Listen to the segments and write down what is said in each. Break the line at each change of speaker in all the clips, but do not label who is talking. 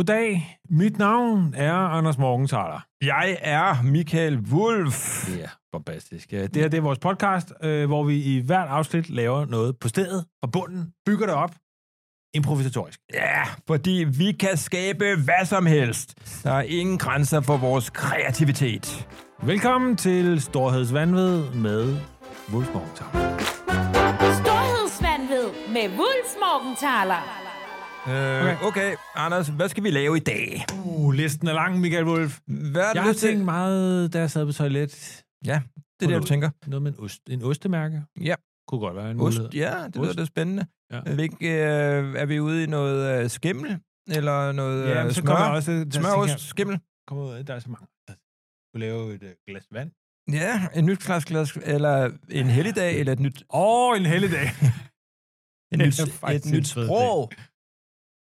Goddag, mit navn er Anders Morgenthaler.
Jeg er Michael Wolf.
Ja, bombastisk. Det her det er vores podcast, øh, hvor vi i hvert afsnit laver noget på stedet, fra bunden, bygger det op, improvisatorisk.
Ja, fordi vi kan skabe hvad som helst. Der er ingen grænser for vores kreativitet.
Velkommen til Storhedsvandved med Wolf Morgenthaler.
Storhedsvandved med Wulfs Morgenthaler.
Okay. Øh, okay, Anders, hvad skal vi lave i dag?
Uh, listen er lang, Michael Wolf.
Hvad er
Jeg
det,
har
du tænker?
tænkt meget, da jeg sad på toilet.
Ja, det er det, du tænker.
Noget med en, ost, en ostemærke.
Ja.
Kunne godt være en
Ost,
mulighed.
ja, det lyder
Ost.
da spændende.
Ja.
Er vi, ikke, øh, er vi ude i noget øh, skimmel? Eller noget
Ja,
øh,
men så
smør?
kommer jeg også... Der
Smørost, skimmel?
Kommer ud, af, der er så mange. Du lave et øh, glas vand.
Ja, en nyt glas, glas eller en helligdag, eller et nyt,
Åh, oh, en helligdag.
en
Det
nyt,
er faktisk
et
en
nyt
fed
sprog.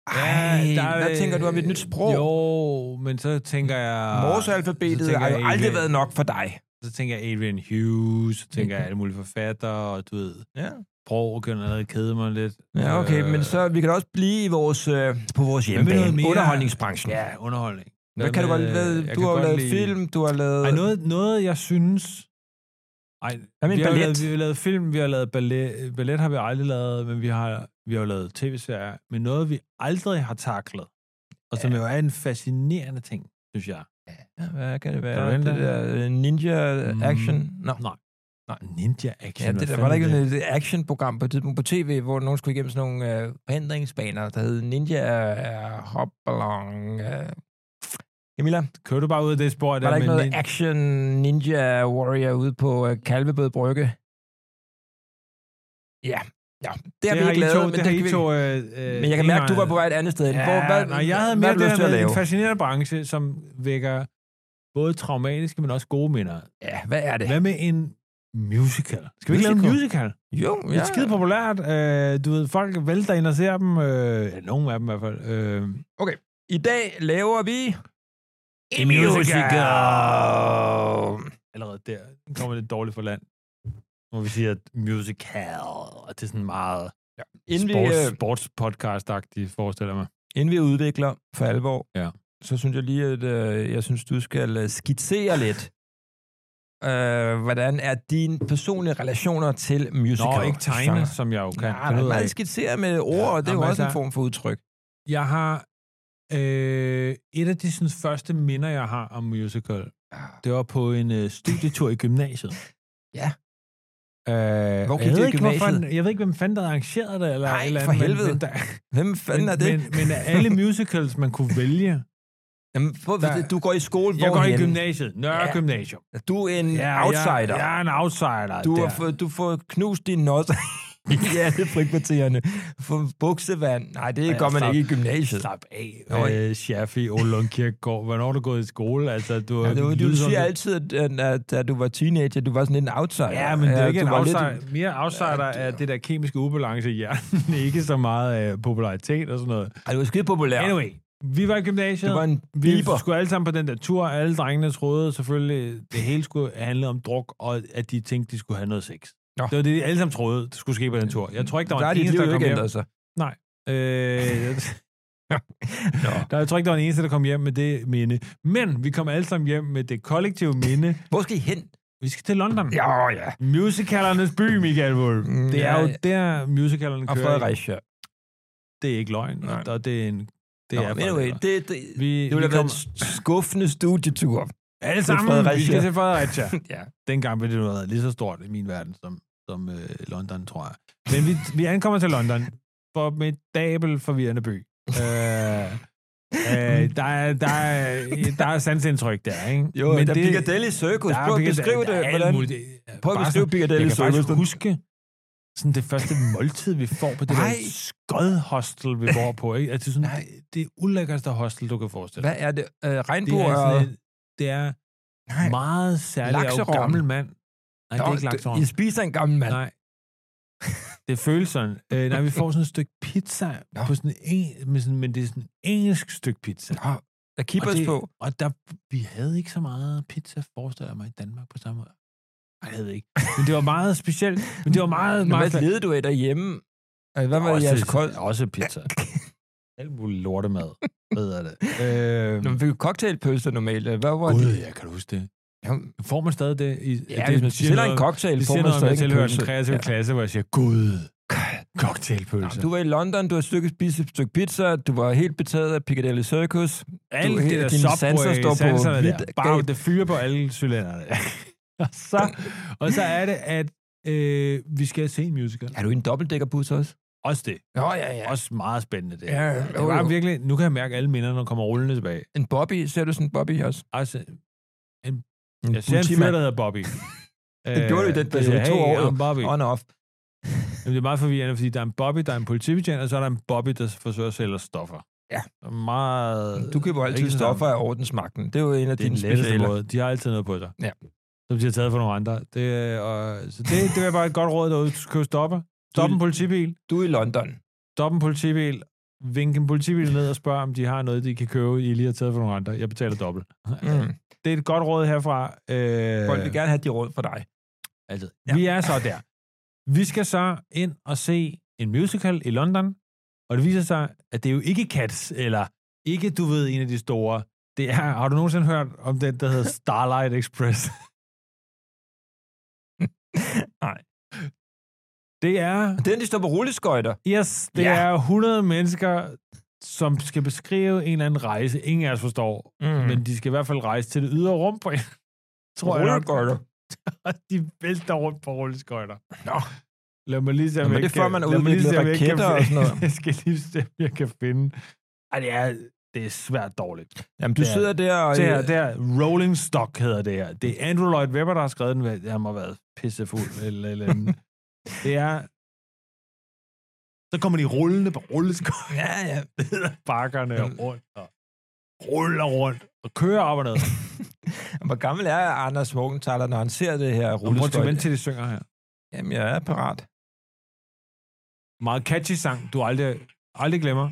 Ej, der, hvad
øh,
tænker du om et nyt sprog? Ah,
Jo, men så tænker jeg... så
Morsealfabetet
tænker
har jo
jeg
aldrig
Adrian-
været nok for dig.
Så tænker jeg Adrian Hughes, så tænker jeg alle mulige forfattere, og du ved,
Ja.
sprog kan allerede kede mig lidt.
Ja, okay, men så vi kan da også blive i vores, øh, på vores
noget
hjemmebane,
mere?
underholdningsbranchen. Ja.
Ja, underholdning.
Hvad kan du godt lide? Du har jo lavet film, du har lavet...
Ej, noget, noget jeg synes... Ej,
Hvad med
vi,
en
har jo
ballet?
lavet, vi har jo lavet film, vi har lavet ballet, ballet har vi aldrig lavet, men vi har, vi har jo lavet tv-serier. Men noget, vi aldrig har taklet, og som ja. jo er en fascinerende ting, synes jeg.
Ja, Hvad
Kan
kan det
du
være?
hente
Det der øh, ninja
Mm.
action? Nå.
Nej. Nej, Ninja Action.
Ja,
hvad
det der,
fanden
var der
er
ikke sådan et actionprogram på et tidspunkt på tv, hvor nogen skulle igennem sådan nogle øh, forhindringsbaner, der hed Ninja øh, Hopalong. Øh. Camilla,
Kører du bare ud af det spor?
var der ikke
med
noget
nin-
action Ninja Warrior ude på øh, Kalvebød Brygge? Ja, ja. Det har vi
har
ikke
I
lavet,
to-
men
det
det
har
kan
I
vi-
to, øh, øh,
Men jeg kan mærke, at du var
enøjet.
på vej et andet sted. hen.
Ja,
Hvor, hvad,
nej, jeg havde
hvad
mere
har du
det
lyst til
der
at
med
lave?
en fascinerende branche, som vækker både traumatiske, men også gode minder.
Ja, hvad er det?
Hvad med en musical? Skal vi ikke lave en
Musical?
musical?
Jo,
Det er
ja.
skide populært. Øh, du ved, folk vælter ind og ser dem. Øh, ja, nogle af dem i hvert fald. Øh,
I dag laver vi...
En musical.
musical.
allerede der kommer det dårligt for land. Hvor vi siger, at musical, og det er sådan meget
Inden vi,
sports,
øh,
sportspodcast-agtigt, forestiller jeg mig.
inden vi udvikler for alvor,
Ja.
så synes jeg lige, at øh, jeg synes, du skal øh, skitsere lidt, øh, hvordan er dine personlige relationer til musical?
Nå, ikke tegne, som jeg jo kan.
Nej,
Det
det
ved
er
jeg
meget
ikke.
skitsere med ord, og det er jo
Jamen,
også en
altså-
form for udtryk.
Jeg har... Øh, et af de sådan, første minder, jeg har om musical, det var på en øh, studietur i gymnasiet.
Ja.
Øh, Hvor
gik
jeg,
du
ved
i
ikke, hvorfor,
gymnasiet?
jeg ved ikke, hvem fanden der havde arrangeret det. Eller
Nej,
et eller
for
andet, men-
helvede.
Men, der,
Hvem fanden
men,
er
Men,
det?
men af alle musicals, man kunne vælge.
Jamen, hvor,
der-
du går i skole,
Jeg går i
hvorhenne?
gymnasiet. Nørre
Ja.
Gymnasium.
Du er en
Ja,
outsider.
Jeg, jeg er en outsider.
Du har
der.
fået, du får knust dine nosser i alle frikvartererne. Få buksevand. Nej, det
Ja,
gør man
stop.
ikke i gymnasiet.
Slap af,
Nå,
øh, Shaffi Olund Kirkegaard. Hvornår er du gået i skole? Altså, du,
Ja, du,
lyder
du
som-
siger altid, at, at, at da du var teenager, du var sådan lidt en outsider.
Ja, men det er ikke
du
en
var lidt-
outsider. Lidt... Mere outsider
Ja, det-
er det der kemiske ubalance i hjernen. ikke så meget øh, popularitet og sådan noget.
Ej, du var skide populær.
Ja. Anyway, vi var i gymnasiet.
Du var en
vi
biber.
skulle alle sammen på den der tur. Alle drengene troede selvfølgelig, det hele skulle handle om druk, og at de tænkte, de skulle have noget sex.
Nå.
Det var det, de alle sammen troede, det skulle ske på den tur. Jeg tror ikke, der var
Der er
en
dit
eneste,
liv altså.
der
jo
kom
ikke
hjem.
ændret sig.
Øh,
Nå.
der, jeg tror ikke, der var en eneste, der kom hjem med det minde. Men vi kom alle sammen hjem med det kollektive minde.
Hvor skal I hen?
Vi skal til London.
Ja, ja.
Musicalernes by, Michael Wolf.
Mm,
Det er
ja,
jo
ja.
der, musicalerne
Og
kører.
Fredericia.
Det er ikke løgn,
Nej.
og det er en... Det
Nå,
er
anyway,
Fredericia.
det, det,
Vi, vi
det ville have været
kommer-
en skuffende studietur.
Alle
til
sammen, vi
Fredericia.
skal til Fredericia.
ja.
Dengang blev det noget lige så stort i min verden, som, som øh, London, tror jeg. Men vi, vi ankommer til London, for med et dabel forvirrende by. Øh, øh, der, er, der, er, der er sansindtryk der, ikke?
Mm. Jo, men der er Piccadilly Circus.
der er
Prøv at
Piccadilly-
beskrive
der
det.
er alt
Hvordan,
muligt.
prøv at
Bare
beskrive
Jeg
Piccadilly
kan
Circus.
faktisk huske sådan det første måltid, vi får på det
Nej.
der skodhostel, vi bor på. Ikke? Altså sådan,
Nej.
det ulækkerste hostel, du kan forestille dig.
Hvad er det? Øh,
Det
regnbue
er,
og...
sådan, et- det er
Nej.
meget særligt. Jeg er jo
Lakserogn.
gammel mand. Nej, det er ikke lakserogn.
I spiser en gammel mand.
Nej. Det føles sådan. Øh, nej, vi får sådan et stykke pizza,
Nå.
på sådan en, med sådan, men det er sådan et engelsk stykke pizza.
Nå, der
Og,
keepers
det,
på.
og der, vi havde ikke så meget pizza, forestiller jeg mig, i Danmark på samme måde. Nej, det havde vi ikke. Men det var meget specielt. Men det var meget,
Men
meget...
hvad levede du af derhjemme? Altså, Hvad var
også,
jeres kold?
Også pizza. Alt muligt lortemad hedder det. Øh,
Når man fik cocktailpølser normalt, øh, hvad var
Gud,
det?
jeg kan du huske det.
Jamen,
Får man stadig det? I, det,
ja, hvis man
siger
bestiller en
noget-
cocktail,
det
får
siger
man
noget, om, at
stadig
jeg
en
tilhører den
pølse.
kreative
Ja.
klasse, hvor jeg siger, Gud,
Nå,
cocktailpølse.
Du var i London, du har stykket spist et stykke pizza, du var helt betaget af Piccadilly Circus.
Alt
Du-
det der
dine sanser står
Subway,
på
sanserne der.
vidt
Bare
gab.
det fyre på alle cylinderne. og, så, og så er det, at øh, vi skal se en musical.
Er du i en dobbeltdækkerbus også?
Også det.
Nå, ja, ja.
Også meget spændende det.
Ja,
her.
jo,
det var
jo.
virkelig, nu kan jeg mærke, at alle minderne kommer rullende tilbage.
En Bobby, ser du sådan en Bobby også?
Altså,
En
jeg ser en fyr, der hedder Bobby. Øh,
gjorde du i den
der
periode,
siger,
to
"Hey,
år,
I'm
jo."
Bobby.
On off.
Jamen, det er meget forvirrende, fordi der er en Bobby, der er en politibetjent, og så er der en Bobby, der forsøger at sælge stoffer.
Ja.
Og Meget...
Du køber altid
ikke sådan-
stoffer af ordensmagten. Det er jo en af
Det er
dine
den letteste
specialer.
måde. De har altid noget på sig.
Ja.
Som de har taget fra nogle andre. Det, øh, og, så det, det er bare et godt råd derude. Du skal stoppe. Stop en politibil.
Du er i London.
Stop en politibil. Vink en politibil ned og spørg, om de har noget, de kan købe, I lige har taget fra nogle andre. Jeg betaler dobbelt.
Mm.
Det er et godt råd herfra. Øh,
Folk vil gerne have de råd fra dig.
Altid. Ja. Vi er så der. Vi skal så ind og se en musical i London, og det viser sig, at det er jo ikke Cats, eller ikke, du ved, en af de store. Det er, har du nogensinde hørt om den, der hedder Starlight Express?
Nej.
Det er,
Og Den, de står på rulleskøjter.
yes, det
Ja.
er 100 mennesker, som skal beskrive en eller anden rejse, ingen af os forstår, mm. men de skal i hvert fald rejse til det ydre rum på en, tror jeg nok.
rulleskøjter.
Og de vælter rundt på rulleskøjter.
Nå.
Lad mig lige se, om
Jamen,
jeg
det er
kan-
før, man har
lad mig lige se,
udviklet
om jeg kan-
raketter og sådan noget.
Jeg skal lige se, om jeg kan finde. Ej, det er, det er svært dårligt.
Jamen, du
Det er-
sidder der og... øh,
Det her, det her Rolling Stock hedder det her. Det er Andrew Lloyd Webber, der har skrevet den. Jeg må have været pissefuld. Eller, eller andet. det er... Så kommer de rullende på rulleskøjter.
Ja, ja.
Bakkerne og rundt og ruller rundt og kører op og ned.
Hvor gammel er Anders Morgenthaler, når han ser det her
Og rundt til,
rulleskøjter?
mens de synger her.
Jamen, jeg er parat.
meget catchy sang, du aldrig, aldrig glemmer.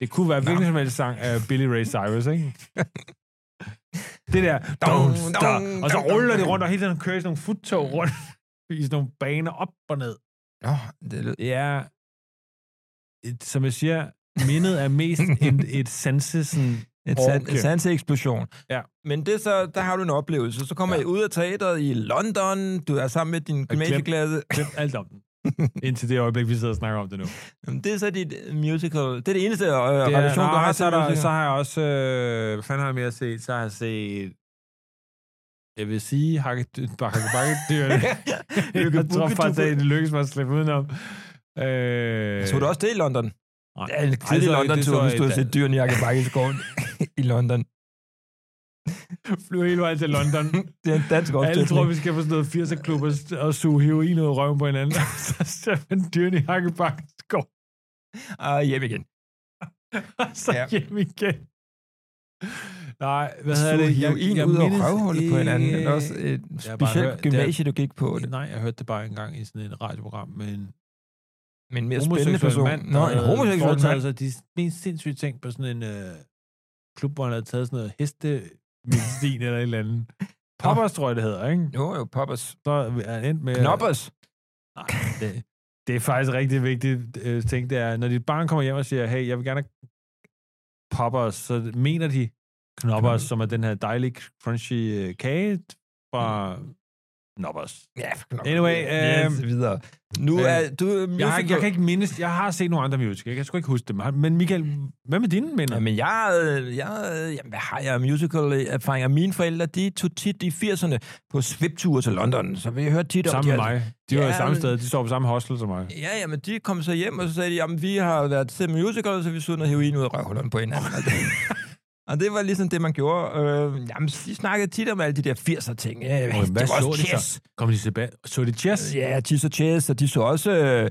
Det kunne være hvilken som helst sang af Billy Ray Cyrus, ikke? det der,
Dong,
don't stop.
dong,
Og så
dong,
ruller de
dong.
rundt, og hele tiden kører i sådan nogle futtog rundt i sådan nogle baner op og ned.
Nå, det lyder...
Ja, et, som jeg siger, mindet er mest et, et sansesen.
Et,
Orke.
san, et sanseeksplosion.
Ja.
Men det er så, der har du en oplevelse. Så kommer
Ja.
ja. I ud af teateret i London, du er sammen med din gymnasieklasse.
Glem alt om den. Indtil det øjeblik, vi sidder og snakker om det nu.
Jamen, Det er så dit musical. Det er det eneste øh,
Det er,
relation,
nå,
du har
så,
til
er der,
musical.
så har jeg også... Øh, hvad fanden har jeg mere set? Så har jeg set... Jeg vil sige hakkebakkedyrene. jeg tror faktisk, at det lykkes mig at slippe udenom. Øh,
Så du også det i London?
Nej.
Ja, en
Ej,
tidlig
så- det så
London-tur, hvis
i
du har
Dan-
set dyrene i Jakke Bakke i skoven i London.
Flyver hele vejen til London.
Det er en dansk
Alle
opsætning.
tror, vi skal få sådan noget 80'er klub og, og suge heroin ud af røven på hinanden. så ser man dyrene i hakkebakket skov.
Og Ah, hjem igen.
og så
Ja.
ja. hjem igen. Nej, hvad hedder
Suge
det?
heroin ud af røvhullet på hinanden. Det er også et
bare hørt,
specielt
det er-
gymnasie, du gik på.
Nej, jeg hørte det bare engang i sådan et radioprogram med en
Men mere spændende
homoseksuel
person.
mand,
Nå,
der
en
havde
homoseksuel mand.
foretaget sig de mest sindssyge ting på sådan en øh, klub, hvor han havde taget sådan noget hestemedicin eller et eller andet. Poppers, tror jeg, det hedder, ikke?
Jo, jo, poppers.
Så er han endt med...
Knoppers.
Nej, det, det er faktisk rigtig vigtigt øh, ting, det er, når dit barn kommer hjem og siger, hey, jeg vil gerne have poppers, så mener de knoppers, som er den her dejlige, crunchy øh, kage fra
Mm.
knoppers.
Ja, for knoppers.
Anyway,
yes,
øhm,
videre. Nu
øh,
er du
Jeg, har, jeg kan ikke mindes, jeg har set nogle andre musicals, jeg kan sgu ikke huske dem. Har- Men Michael, hvad med dine minder?
Jamen, jeg, øh, jeg, øh, jamen, hvad har jeg af musical-erfaringer? Mine forældre, de tog tit i 80'erne på svipture til London, så vi hørte tit om...
Sammen
de
med
her-
mig. De var
Ja,
i samme
men-
sted. De står på samme hostel som mig.
Ja, ja, men de kom så hjem, og så sagde de, jamen, vi har været til musical, så vi sugede noget heroin ud af røvhullerne på hinanden. Og det- og det var ligesom det, man gjorde. Øh, jamen, de snakkede tit om alle de der 80'er ting. Ja,
Okay,
det
hvad
var
så
også
de så?
Chess.
Kom de tilbage? Så de Chess?
Ja, Chess og Chess, og de så også øh,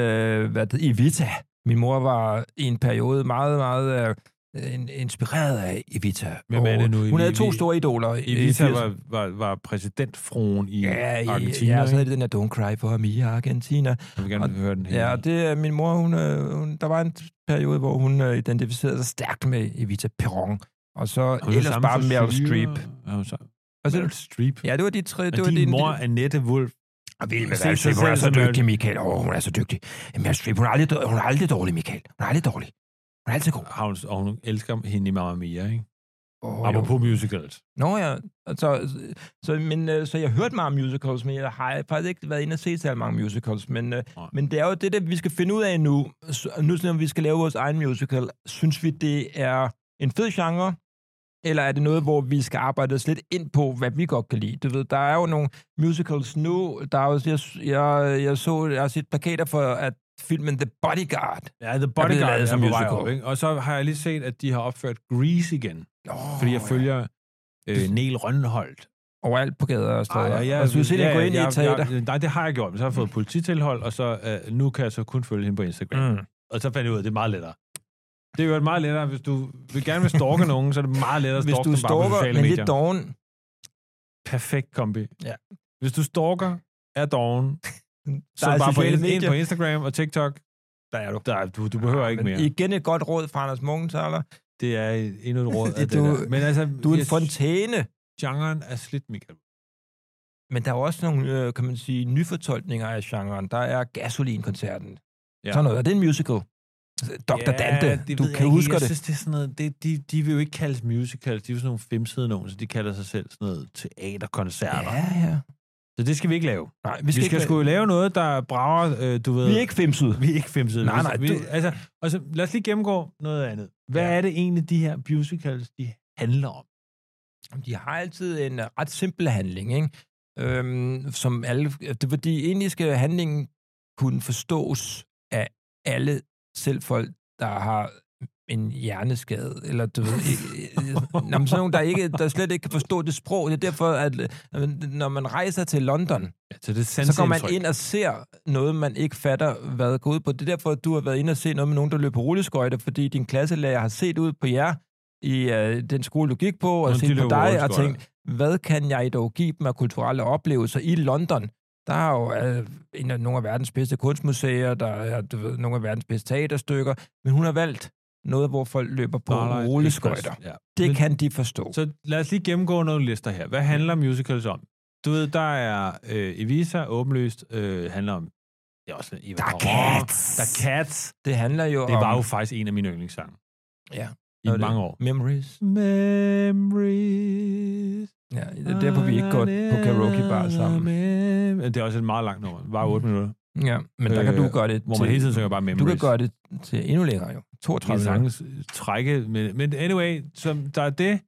øh, hvad det, Evita. Min mor var i en periode meget, meget øh, in- inspireret af Evita.
Hvem er
Og
det nu,
Hun havde
Evi-
to store idoler. i-
Evita
i 80'erne.
var, var, var præsidentfruen i
Ja, i,
Argentina.
ja, og så
ikke?
havde de den der Don't Cry for Me Argentina.
Jeg vil gerne
og-
høre den her.
Ja, og det er min mor, hun, øh, hun, der var en periode, hvor hun øh, identificerede sig stærkt med Evita Perron. Og så
Hun er
ellers
samme
bare
frisyre.
Meryl Streep.
Ja, hun er så-
Og så,
Meryl Streep.
ja, det var de tre.
Og
Det var
din
din
mor, Annette Wolf.
Og Vild med
Se
Meryl
sig
Streep, hun er
selv som
så
Meryl-
dygtig, Michael. Åh, hun er så dygtig. Meryl Streep, hun er aldrig, dø- hun er aldrig dårlig, Michael. Hun er aldrig dårlig. Hun er altid god.
Og hun, og hun elsker hende i Mamma Mia, ikke?
Oh,
Oh, Apropos musicals.
Nå ja, så, så, men, øh, så jeg har hørt meget om musicals, men jeg har faktisk ikke været inde og se særlig mange musicals. Men, øh,
Nej.
men det er jo det, der, vi skal finde ud af nu. Så, nu når vi skal lave vores egen musical, synes vi, det er en fed genre, eller er det noget, hvor vi skal arbejde os lidt ind på, hvad vi godt kan lide? Du ved, der er jo nogle musicals nu. Der er jo, jeg, jeg, jeg, så, jeg har set plakater for at filmen The Bodyguard.
Ja, The
blevet
Bodyguard
lavet
er
som
som på vej
musical.
op, ikke? Og så har jeg lige set, at de har opført Grease igen,
Oh,
fordi jeg følger øh, Neil Rønholdt.
Overalt på gader og steder.
Ej, og
jeg, og så du se, ja, gå ind i
jeg-
et teater.
jeg- Nej, det har jeg gjort, men så har jeg fået polititilhold, og så øh, nu kan jeg så kun følge hende på Instagram.
Mm.
Og så fandt jeg ud af, at det er meget lettere. Det er jo meget lettere, hvis du vil gerne vil stalke nogen, så er det meget lettere at
Hvis
stalke
du
dem bare på
stalker,
sociale
men
medier.
lidt doven,
Perfekt kombi.
Ja.
Hvis du stalker, er doven, så
Der
er
er
det bare på,
sociale
ind, ind
medier.
på Instagram og TikTok. Der er du. Der, du, du behøver ikke
Men
mere.
Igen et godt råd fra Anders Morgenthaler.
Det er endnu et råd af det
Du-
der. Men altså,
Du er en
jeg
fontæne,
synes, genren er slidt, Michael.
men der er også nogle, øh, kan man sige, nyfortolkninger af genren. Der er Gasolinkoncerten.
Ja.
Ja. Sådan noget. Er det en musical? Dr. Dante,
det
du
ved jeg
kan
ikke.
huske
jeg
det.
Synes, det er sådan noget, det, de, de vil jo ikke kaldes musicals, de er jo sådan nogle femsede nogen, så de kalder sig selv sådan noget teaterkoncerter. Ja.
Ja, ja.
Så det skal vi ikke lave.
Nej,
Vi skal, vi skal
ikke...
sgu lave noget, der brager, øh, du ved...
Vi er ikke femsede.
Vi er ikke femsede.
Nej,
Vi-
nej,
Vi,
du-
altså, og så, lad os lige gennemgå noget andet. Hvad
Ja.
ja. er det egentlig, de her musicals, de handler om?
De har altid en øh, ret simpel handling, ikke? Øhm, som alle... Det er fordi, egentlig skal handlingen kunne forstås af alle, selv folk, der har en hjerneskade, eller du ved, ikke, øh, nå, men sådan nogen, der, ikke, der slet ikke kan forstå det sprog. Det er derfor, at øh, når man rejser til London,
Ja, så det
så går man ind og ser noget, man ikke fatter, hvad går ud på. Det er derfor, at du har været ind og se noget med nogen, der løber rulleskøjter, fordi din klasselærer har set ud på jer i øh, den skole, du gik på, og
Nå, de
set på
løber
dig og
rulleskøjter.
tænkt, hvad kan jeg dog give dem af kulturelle oplevelser i London? Der er jo øh, en af, nogle af verdens bedste kunstmuseer, der er du ved, nogle af verdens bedste teaterstykker, men hun har valgt noget, hvor folk løber på
Starlight
rulleskøjter.
Express. Ja.
Det
Men-
kan de forstå.
Så lad os lige gennemgå nogle lister her. Hvad handler musicals om? Du ved, der er øh, Evisa, åbenlyst, øh, handler om... Det er også Eva
Der er
Braun.
Cats.
Der er Cats.
Det handler jo
Det
om...
var jo faktisk en af mine yndlingssange.
Ja.
I
Nå, det-
mange år.
Memories.
Memories.
Ja, det er derfor, vi ikke går på karaoke-bar sammen.
Det er også et meget langt nummer. Bare 8 minutter.
Ja, men der kan
Øh,
du gøre det
Hvor
til,
man hele tiden synger bare Memories.
Du kan gøre det til endnu længere jo.
kan
32 sange.
sagtens øh, trække, men, men anyway, som der er det,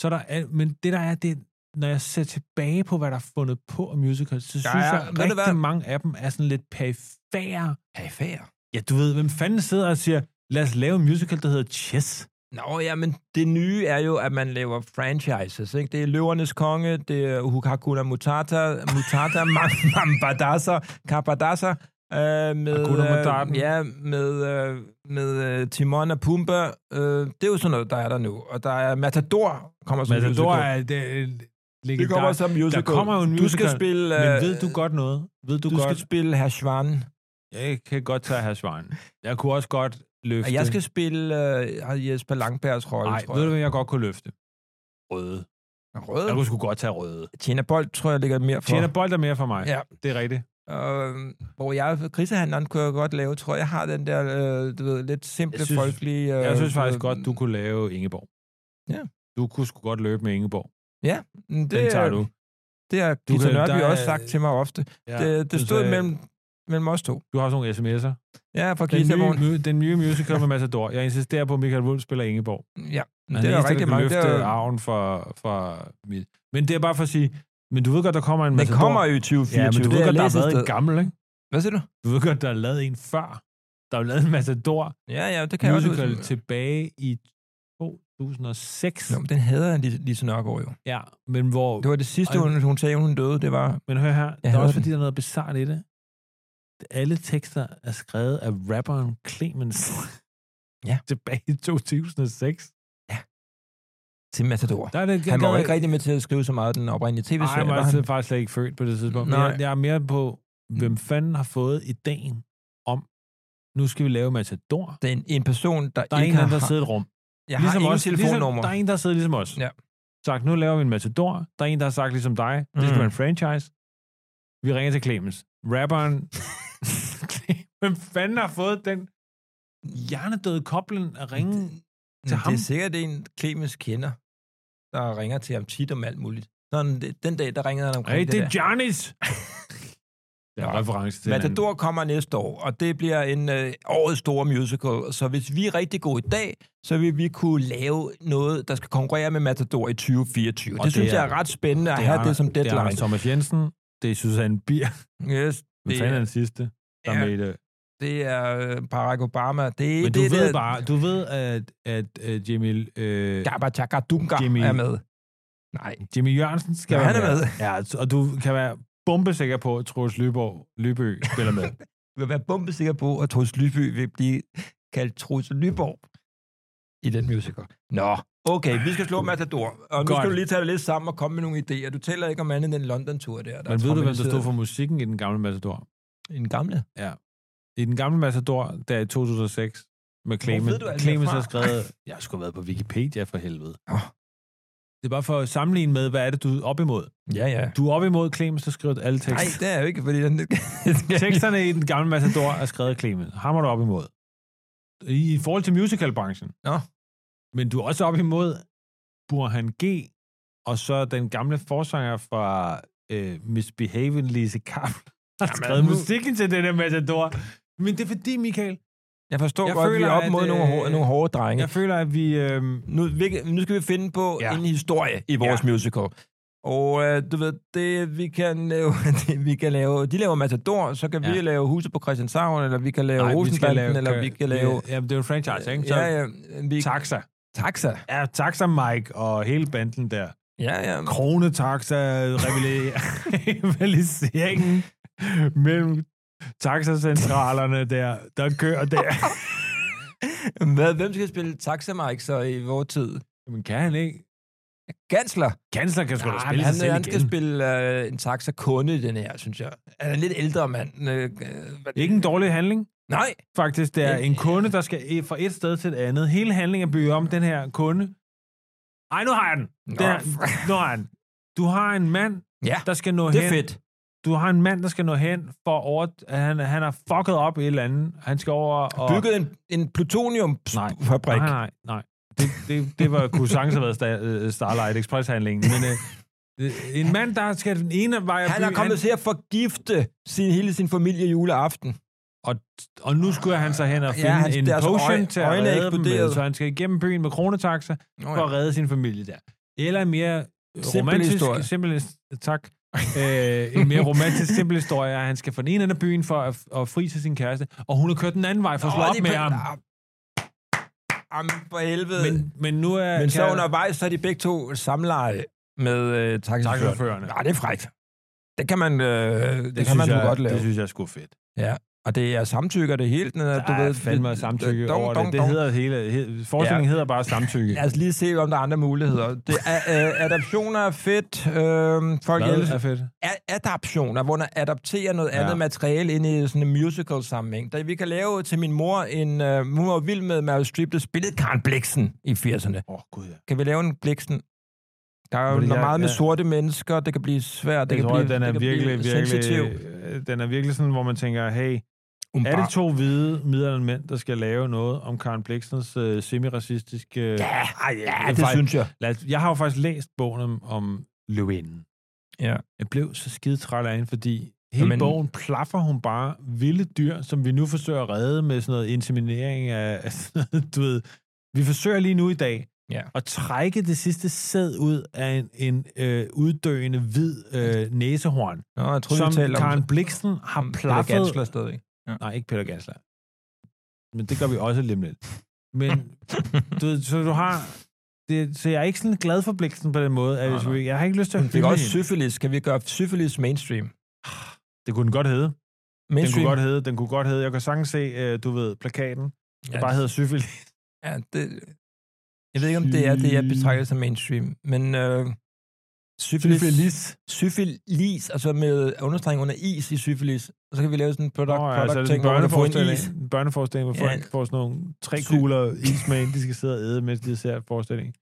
så er der er, men det der er, det er, når jeg ser tilbage på, hvad der er fundet på af musicals, så
Der
synes
er-
jeg,
ved du
rigtig
hvad?
mange af dem er sådan lidt perifære.
Perifære.
Ja, du ved, hvem fanden sidder og siger, lad os lave en musical, der hedder Chess.
Nå ja, men det nye er jo, at man laver franchises. Ikke? Det er Løvernes Konge, det er Hukakuna Mutata, Mutata Mam- Mambadasa, Kapadasa, øh, med,
Hakuna Mataten.
ja, med, øh, med øh, Timon og Pumba. Øh, det er jo sådan noget, der er der nu. Og der er Matador, kommer som
Matador
musical.
er det, er
Det kommer som musical.
der kommer jo en
Du skal
musical,
spille...
Men
øh,
ved du godt noget? Ved du,
du,
godt?
skal spille Herr Schwan.
Jeg kan godt tage herr Schwein. Jeg kunne også godt løfte...
Og jeg skal spille øh, Jesper Langbergs rolle,
Nej,
tror
ved du,
jeg.
hvad jeg godt kunne løfte? Røde.
Rød.
Jeg kunne sgu godt tage røde.
Tjener bold, tror jeg, ligger mere for.
Tjener bold er mere for mig.
Ja.
Det er rigtigt.
Øh, hvor jeg, grisehandleren kunne jeg godt lave, tror jeg, jeg har den der, øh, du ved, lidt simple,
Jeg synes-
folkelige... Øh,
Jeg synes faktisk
øh,
godt, du kunne lave Ingeborg.
Ja.
Du kunne sgu godt løbe med Ingeborg.
Det,
Den tager du.
Det har
Du
Gita
kan-
Nørby
der er-
også sagt til mig ofte. Ja, øh, det, det
du
stod
sagde-
mellem, mellem os to.
Du har også nogle sms'er.
Ja, fra
Den
Gita
nye,
Morgen.
mu- den nye musical med Matador. Jeg insisterer på, at Michael Wulff spiller Ingeborg.
Ja,
Han
det
den
er
eneste,
der
der
rigtig
kan
mange. Det
løfte
er,
arven for, for mit. Men det er bare for at sige, men du ved godt, der kommer en
den
Matador.
kommer jo i
Altså, Ja,
2024.
men du ved
det
godt, der
læst
har
et
været en
sted.
gammel, ikke?
Hvad siger du?
Du ved godt, der er lavet en før. Der er jo lavet en Matador
Ja, ja, det kan jeg også
musical
huske.
tilbage i 2006.
Nå, men den hader Lise, Lise Nørgaard jo.
Ja, men hvor...
Det var det sidste,
Ej.
hun, hun sagde, hun døde. Det var
Men hør her, der er
hørte
også
den.
fordi, der er noget bizart i det. Alle tekster er skrevet af rapperen Clemens.
Ja.
Tilbage i 2006.
til Matador.
Der er det,
Han var jo
der-
ikke rigtig med til at skrive så meget af den oprindelige
Ej,
tv-serie.
jeg
var
var
han?
altså faktisk slet ikke født på det tidspunkt.
Nej.
Nej. Mm. Jeg, jeg er mere på, hvem fanden har fået ideen om, nu skal vi lave Matador.
Det er en, en person, der,
Der er en,
ikke
eller anden,
har...
der sidder i et rum.
jeg har ingen
os.
telefonnummer.
Ligesom, der er en, der sidder ligesom os.
Ja.
Sagt, nu laver vi en Matador. Der er en, der har sagt ligesom dig, det skal
Mm.
være en franchise. Vi ringer til Clemens. Rapperen... Hvem fanden har fået den hjernedøde koblen at ringe.
Til ham?
ham?
Det er sikkert en, Clemens kender, der ringer til ham tit om alt muligt. Sådan, det- den dag, der ringede han omkring
Hey, det er
det,
Johnny's! Det er en
Nå.
reference til
der.
en anden.
Matador kommer næste år, og det bliver en øh, årets store musical. Så hvis vi er rigtig gode i dag, så vil vi kunne lave noget, der skal konkurrere med Matador i 2024.
Og
Det, det
det
synes jeg
er-
er ret spændende at
Det
have
er-
det som
Det er Anders
deadline.
Thomas Jensen, det er Susanne Bier,
Yes,
hvad
det,
fanden er
er,
den sidste, der
Ja.
er med i det.
det er øh, Barack Obama. Det er
Men du
det,
ved
der,
bare, du ved, at, at, at Jimmy, øh,
Gabba Chaka Dunga
Jimmy-
er med. Nej,
Jimmy Jørgensen skal
Ja,
være
han er med.
Ja, og du kan være bombesikker på, at Troels Lyborg, Lybø spiller med.
vil være bombesikker på, at Troels Lyby vil blive kaldt Troels Lyborg i den musical. Nå, okay, vi skal slå Matador. Og nu
Godt.
skal du lige tage det lidt sammen og komme med nogle idéer. Du taler ikke om andet end den London-tur der. der
Men ved
er
du, hvem der stod
traumatiseret.
for musikken i den gamle Matador?
En gamle.
I den gamle Matador, der i 2006, med Clemens.
ved du alt
Clemens
herfra?
har skrevet, jeg skulle have været på Wikipedia for helvede.
Åh.
Det er bare for at sammenligne med, hvad er det, du er op imod?
Ja, ja.
Du er op imod Clemens, der skriver alle
Nej,
tekster.
det er jo ikke, fordi den...
Teksterne i den gamle Matador er skrevet af Clemens. Ham er du op imod. I, i forhold til musicalbranchen.
Nå.
Men du er også op imod Burhan G. Og så den gamle forsanger fra øh, Misbehaving Lise Kappel har
Jamen,
skrevet
nu-
musikken til den her Matador. Men det er fordi, Michael,
Jeg forstår
Jeg
godt, at vi er
føler,
op mod
at,
nogle, hår,
øh,
nogle hårde drenge.
jeg føler, at vi... Øh,
Nu, vi- nu skal vi finde på ja.
Ja.
en historie i vores ja. musical. Og øh, du ved, det vi kan lave, det, vi kan lave, de laver Matador, så kan ja. vi
Ja.
lave Huset på Christianshavn, eller vi kan lave
nej, vi skal
Rosenbanden,
lave-
eller vi kan lave...
Jamen, det er jo en franchise, altså, ikke? Så,
ja, ja, vi,
Taxa.
Taxa.
Ja, Taxa Mike og hele banden der.
Ja, ja.
krone taxa rivaliseringen mellem taxacentralerne der, der kører der.
Hvad, hvem skal spille Taxa Mike så i vores tid?
Men kan han ikke?
Gansler.
Kansler kan sgu da
Nej,
spille
Ah, han,
sig selv
han skal
igen.
spille øh, en taxa-kunde i den her, synes jeg. Han er en lidt ældre mand. Øh, øh, hvad-
Ikke en dårlig handling,
Nej,
faktisk. Det er
Ja.
en kunde, der skal e- fra et sted til et andet. Hele handlingen er bygget om den her kunde. Ej, nu har jeg den.
Nå.
Den er, nu har jeg den. Du har en mand,
Ja,
der skal nå
det
hen.
er fedt.
Du har en mand, der skal nå hen for over... at Han, han har fucket op i et eller andet. Han skal over og...
Bygget en, en
Nej.
plutoniumfabrik.
Nej, nej, nej. Det, det, det var, kunne sagtens have været Star, øh, Starlight Express-handlingen. Men øh, øh, en mand, der skal den ene vej af
Han er
byen,
kommet til at forgifte sin, hele sin familie juleaften.
og nu skulle han så hen og
Ja,
finde ja,
hans-
en
deres
potion
øje-
til at
øjne er
redde dem med,
eksploderet.
så han skal igennem byen med kronetaxa
Nå,
for at redde sin familie der. Eller en mere
Simpel
simpel romantisk...
historie.
Historie. Simpel, his- tak. øh, en mere romantisk, simpel historie, at han skal fra den ene ende af byen for at, at fri til sin kæreste, og hun har kørt den anden vej for at slå
Åh,
op
de
med
pæ-
ham.
Jamen, for helvede. Men,
Men, men nu er...
men så
kan-
undervejs, så er de begge to samleje med øh, taxichaufføren.
Taxachaufførerne.
Nej, det er frækt. Det kan man, øh, det det kan
synes
man jeg,
jeg,
godt lave.
Det synes jeg er sgu fedt.
Og det er samtykker det hele. Den, er,
Der er fandme samtykke
dong,
over
dong,
det. Det
dong.
hedder hele... He, forestillingen hedder bare samtykke.
Lad os lige se, om der er andre muligheder. Det er, øh, adoptioner er fedt. Øh, folk elsker.
Hvad er fedt?
a- adaptioner, hvor man adapterer noget ja.
Ja.
andet materiale ind i sådan en musical-sammenhæng. Der, vi kan lave til min mor en... Uh, hun var vild med Meryl Streep, der spillede Karen Bliksen i 80'erne.
Åh, oh, gud ja.
Kan vi lave en Bliksen? Der er jo
Fordi
noget
jeg-
meget med
jeg-
sorte mennesker, det kan blive svært, det
Jeg
kan
tror,
blive,
at den er
det kan
virkelig,
blive
virkelig...
sensitiv.
øh, Den er virkelig sådan, hvor man tænker, hey, er det to hvide midlerne mænd, der skal lave noget om Karen Bliksens øh, semiracistiske... Ja,
ej, ja,
det
det
fej-
synes jeg.
Lad os, jeg har jo faktisk læst bogen om, om løvinden.
Ja.
Jeg blev så skide træt af hende, fordi hele
Jamen-
Jamen, bogen plaffer hun bare vilde dyr, som vi nu forsøger at redde med sådan noget inseminering af, af sådan noget, du ved. Vi forsøger lige nu i dag
Ja.
at trække det sidste sæd ud af en, en øh, uddøende hvid øh, næsehorn,
Nå, jeg troede,
som
vi talte om...
Karen Bliksen har
Peter
plaffet.
Gansler stadig.
Nej, ikke Peter Gansler. Men det gør vi også lidt lidt. Men du, ved, så du har... Det, så jeg er ikke sådan glad for Bliksen på den måde. At,
Nej, nej.
nej, nej. Jeg har ikke lyst til at
Vi
hylde
kan også
hende.
syfilis. Kan vi gøre syfilis mainstream?
Det kunne den godt hedde. Den kunne
Mainstream?
godt hedde, den kunne godt hedde. Jeg kan sagtens se, øh, du ved, plakaten. Det
Ja,
bare hedder syfilis.
Ja, det, jeg ved ikke, om det er det, jeg betragter som mainstream, men øh, syfilis, syfilis. syfilis, altså med understreng under is i syfilis, og så kan vi lave sådan en
Nå,
product,
ja,
product
altså, det er
ting,
en
hvor man kan få en is.
børneforestilling. En børneforestilling, hvor folk
Ja.
får sådan nogle tre
Sy-
kugler is med ind, de skal sidde og æde, mens de ser forestillingen.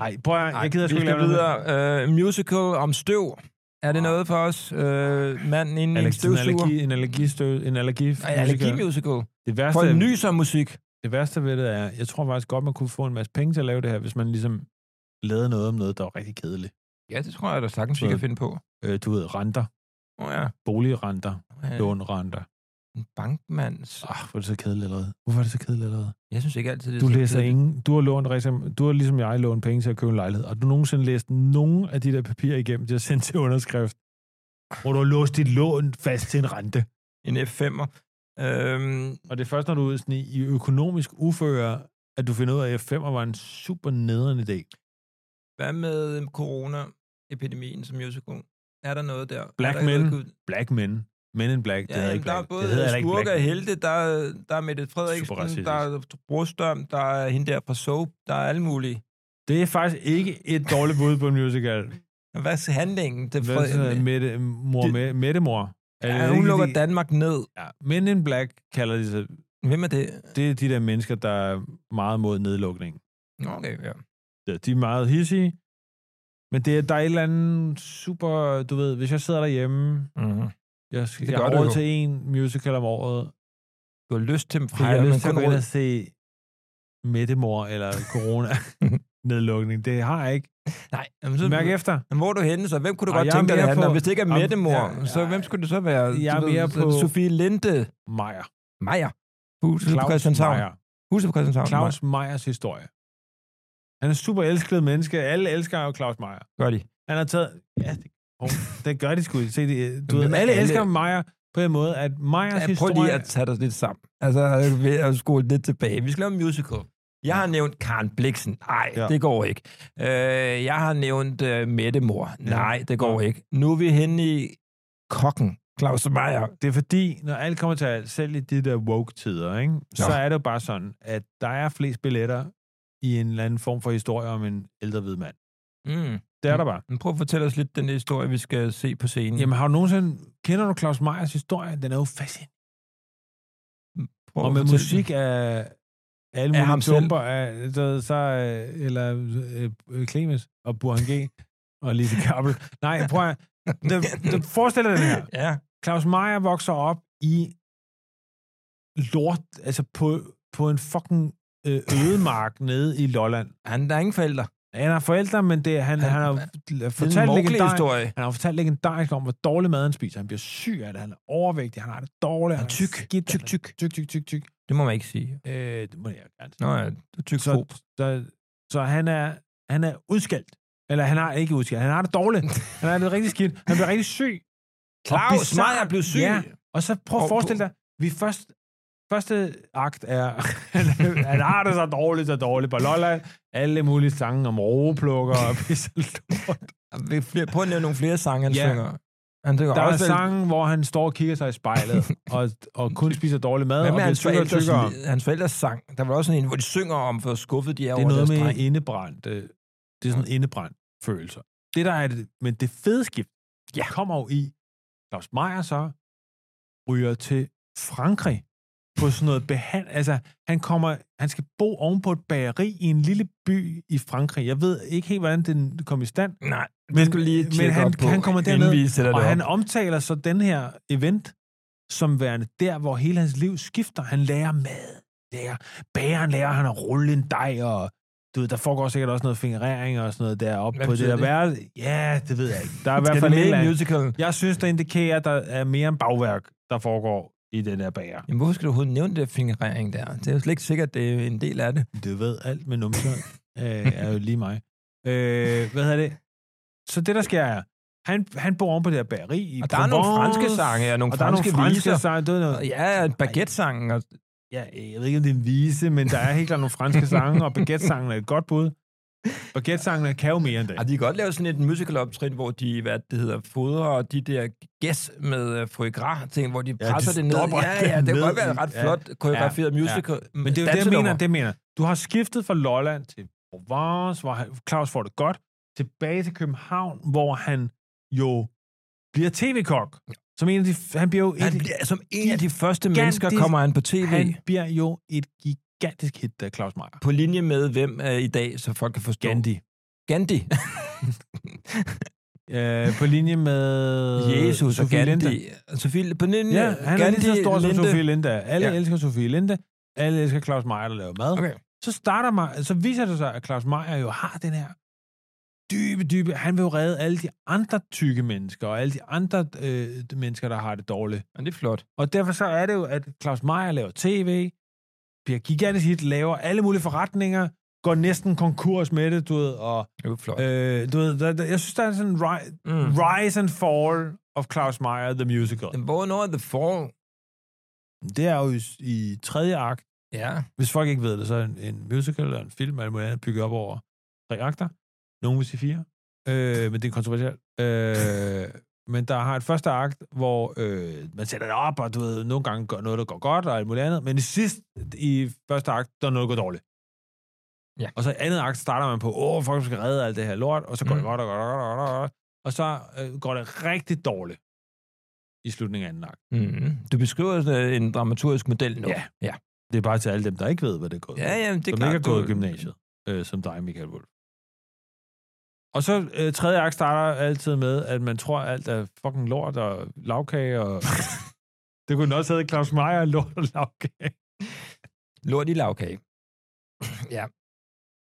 Nej, prøv at høre, jeg gider
vi
sgu ikke
skal
lave noget.
videre. Øh, musical om støv. Er det
Ah.
noget for os? Øh, manden inden i en
Allergi, en
støvsuger.
allergi, en allergistøv, en allergi,
Ej, Allergimusical.
Det værste,
Folk nyser musik.
Det værste ved det er, jeg tror faktisk godt, man kunne få en masse penge til at lave det her, hvis man ligesom lavede noget om noget, der var rigtig kedeligt.
Ja, det tror jeg da sagtens, vi
Så-
kan finde på.
Øh, du ved, renter,
Oh, ja.
boligrenter,
Øh,
lånrenter.
En bankmands...
Ah, hvor er det så kedeligt allerede. Hvorfor er det så kedeligt allerede?
Jeg synes ikke altid, det er
Du
så
læser
kedeligt.
ingen. Du har, lånt, rigtig- du har ligesom jeg lånt penge til at købe en lejlighed. Har du nogensinde læst nogen af de der papirer igennem, de har sendt til underskrift, hvor du har låst dit lån fast til en rente?
En F5'er. Øhm,
Og det er først, når du er ude sådan i, i økonomisk uføre, at du finder ud af, at F5'er var en super nederen idé.
hvad med øhm, corona-epidemien som musical? Er der noget der?
Black
er der
men.
Noget,
Black men. Men in black. Det
ja,
hedder
jamen,
ikke
der er
black.
både
det hedder heller ikke
skurke og
black.
helte, der, er- der er Mette Frederiksen,
racistisk.
der er Brostøm, der er hende der fra Soap, der er alle mulige.
Det er faktisk ikke et dårligt bud på en musical.
Hvad er handlingen? Det
Hvad så, Mette, mor,
Det-
Mette, Mette mor. Er det
ja, hun
ikke
lukker
de-
Danmark ned.
Ja, Men in black kalder de sig.
Hvem er det?
Det er de der mennesker, der er meget mod nedlukning.
Nå, Okay, ja.
Ja, de er meget hissige. Men det er, der er et eller andet super... Du ved, hvis jeg sidder derhjemme,
Mm-hmm.
jeg, skal,
Det
jeg
gør
har
du
råd
jo.
til en musical om året,
Du har lyst til
har jeg
men
lyst til at gå
kun
ind
råd-
og se Mettemor eller corona-nedlukning. Det har jeg ikke.
Nej, jamen, så,
Mærk efter.
Men hvor er du henne så? Hvem kunne du
Ej,
godt
jeg er
tænke dig, det
mere
handler om?
på-
Hvis det ikke er
Jamen,
Mettemor,
ja, ja.
så hvem skulle det så være?
Jeg er
Du ved,
mere
så-
på-
Sofie Linde,
Meier.
Maja, huset på
Claus
Christianshavn.
Meier.
Huset på Christianshavn.
Claus Meyers historie. Han er super elsket menneske. Alle elsker jo Claus Meyer.
Gør de.
Han har taget... Ja, det, oh, det gør de sgu. Se, det, du ved,
Jamen,
alle,
alle-
elsker Meyer på den måde, at Meyers
Ja, prøv
historie...
lige at tage dig lidt sammen. Altså, ved at skole lidt tilbage. Vi skal lave en musical. Jeg har nævnt Karen Bliksen. Nej,
Ja.
ja. det går ikke. Øh, jeg har nævnt uh, Mettemor. Nej, det går
Ja.
ikke. Nu er vi henne i kokken, Claus Meier.
Det er fordi, når alt kommer til alt, selv i de der woke-tider, ikke, så
Ja.
er det jo bare sådan, at der er flest billetter i en eller anden form for historie om en ældre hvid mand.
Mm. Mm.
Det er der bare.
Men Prøv at fortælle os lidt den historie, vi skal se på scenen.
Jamen har du nogensinde... Kender du Claus Meyers historie? Den er jo fascinerende.
Prøv at
Og med
fortælle-
musik af alle
Af
mulige
ham selv.
tumper, af, så, så, øh, eller øh, øh, Clemens og Burhan G. og Lise Kappel. Nej, prøv at... Det, det, forestil dig den her.
Ja.
Claus Meier vokser op i lort, altså på, på en fucking øh, ødemark nede i Lolland.
Han, der er ingen forældre.
Han har forældre, men det, han, han,
Han-
han har
Det er en
fortalt
mærkelig
legendarisk,
historie.
han har fortalt legendarisk om, hvor dårlig mad han spiser. Han bliver syg af det, han er overvægtig, han har det dårligt,
Han er tyk,
skidt,
tyk,
tyk, tyk, tyk, tyk, tyk.
Det må man ikke sige.
Øh, det må jeg gerne sige.
Nå ja, du er tyk
så,
så...
så, så han er, han er udskældt. Eller han har ikke udskældt, han har det dårligt. Han har det rigtig skidt. Han bliver rigtig syg. Og
Claus
bizarre-
Meier blev syg.
Ja, og så prøv at
Og-
forestille dig, vi først, første akt er, han har det så dårligt, så dårligt på Lolland. Alle mulige sange om roveplukker og pisse lort.
Vi flere- Prøv at nævne nogle flere sange, han
Ja.
synger. Han synger
Der er
også...
sange, hvor han står og kigger sig i spejlet, og, og kun spiser dårlig mad,
Hvad
og
med
bliver
hans
tykkere og tykkere.
forældres, hans forældres sang? Der var også sådan en, hvor de synger om, hvor skuffet de er
Det er
over
noget
deres
med
dreng.
indebrændt. øh, Det er sådan indebrændt følelser. Det der er det, men det fede skift, ja. kommer jo i, Claus Meier så ryger til Frankrig på sådan noget behand... Altså, han kommer... Han skal bo oven på et bageri i en lille by i Frankrig. Jeg ved ikke helt, hvordan den kom i stand,
Nej,
Men-
det skulle lige
men
tjekke
han-
op på,
han kommer
inden
derned,
vi sætter
og
det
han
op.
omtaler så den her event som værende der, hvor hele hans liv skifter. Han lærer mad, lærer bageren, lærer han at rulle en dej, og du ved, der foregår sikkert også noget fingerering og sådan noget deroppe
Hvad
på det
betyder
der
det?
værelse. Ja, det ved jeg ikke. Der er i hvert
Skal
fald
det med
en
i
eller anden-
musicalen?
Jeg synes, det indikerer, at der er mere end bagværk, der foregår i den der bager.
Jamen, hvorfor skal du overhovedet nævne det der fingerering der? Det er jo slet ikke sikkert, det er en del af det.
Du ved, alt med numser øh, er jo lige mig. Øh, hvad hedder det? Så det, der sker er, han, han bor oven på det her bageri i
Og der er nogle
Provence,
franske sange, ja, nogle
og der er
franske,
nogle franske
viser.
sange. Du ved noget,
Ja, baguette-sangen. Og,
ja, øh, jeg ved ikke, om det er en vise, men der er helt klart nogle franske sange, og baguette-sangen er et godt bud. Baguette-sangen kan jo mere end det.
Ja, de kan godt lave sådan et musical optrin, hvor de, hvad det hedder, fodrer og de der gæs med uh, foie gras ting, hvor de
Ja, de
presser det ned.
stopper
Ja, ja, det
den
kan godt
ned
være
i-
et ret
ja.
flot koreograferet
Ja, ja.
musical.
Men det er jo det, jeg mener, det jeg mener. Du har skiftet fra Lolland til Provence, hvor han- Claus får det godt, tilbage til København, hvor han jo bliver tv-kok. Som en af de, han bliver jo
Han
et,
bliver, som en af de første
Gigantisk-
mennesker kommer han på tv.
han bliver jo et gigantisk hit, der Claus Meier.
På linje med hvem uh, i dag, så folk kan forstå.
Gandhi.
Gandhi.
Øh, på linje med...
Jesus og
Øh, Sofie
Gandhi.
Linde.
Sofie, på linje,
Ja, han er
Gandhi,
lige så stor som
Linde.
Sofie Linda. Alle ja.
Ja.
elsker Sofie Linda. Alle elsker Claus Meier, der laver mad.
Okay.
Så, starter man, så viser det sig, at Claus Meier jo har den her dybe, dybe... Han vil jo redde alle de andre tykke mennesker, og alle de andre øh, mennesker, der har det dårligt.
Men det er flot.
Og derfor så er det jo, at Claus Meier laver tv, bliver gigantisk hit, laver alle mulige forretninger, går næsten konkurs med det, du ved, og
Det er flot.
øh, du ved, der, der, jeg synes, der er sådan en ri-
Mm.
rise and fall of Claus Meier, the musical.
Men hvornår er The Fall?
Det er jo i, i tredje akt.
Ja.
Hvis folk ikke ved det, så er en, en musical eller en film, eller noget andet, bygget op over tre akter. Nogle vil sige fire, øh, men det er kontroversielt. Øh, men der har et første akt, hvor øh, man sætter det op, og du ved, nogle gange gør noget, der går godt, og alt muligt andet. Men i sidst, i første akt, der er noget, der går dårligt.
Ja.
Og så i andet akt starter man på, åh, folk skal redde alt det her lort, og så går mm.
Mm.
det godt, og godt, og godt, og godt, og godt. Og så øh, går det rigtig dårligt i slutningen af anden akt.
Mm. Du beskriver øh, en dramaturgisk model nu.
Ja.
Ja,
Det er bare til alle dem, der ikke ved, hvad det går.
ja, ja men det er
som
klart.
ikke har gået i
du-
gymnasiet, øh, som dig, Michael Wolf. Og så øh, tredje akt starter altid med, at man tror, alt er fucking lort og lavkage. Og... det kunne den også hedde Claus Meier, lort og lavkage.
Lort i lavkage. ja.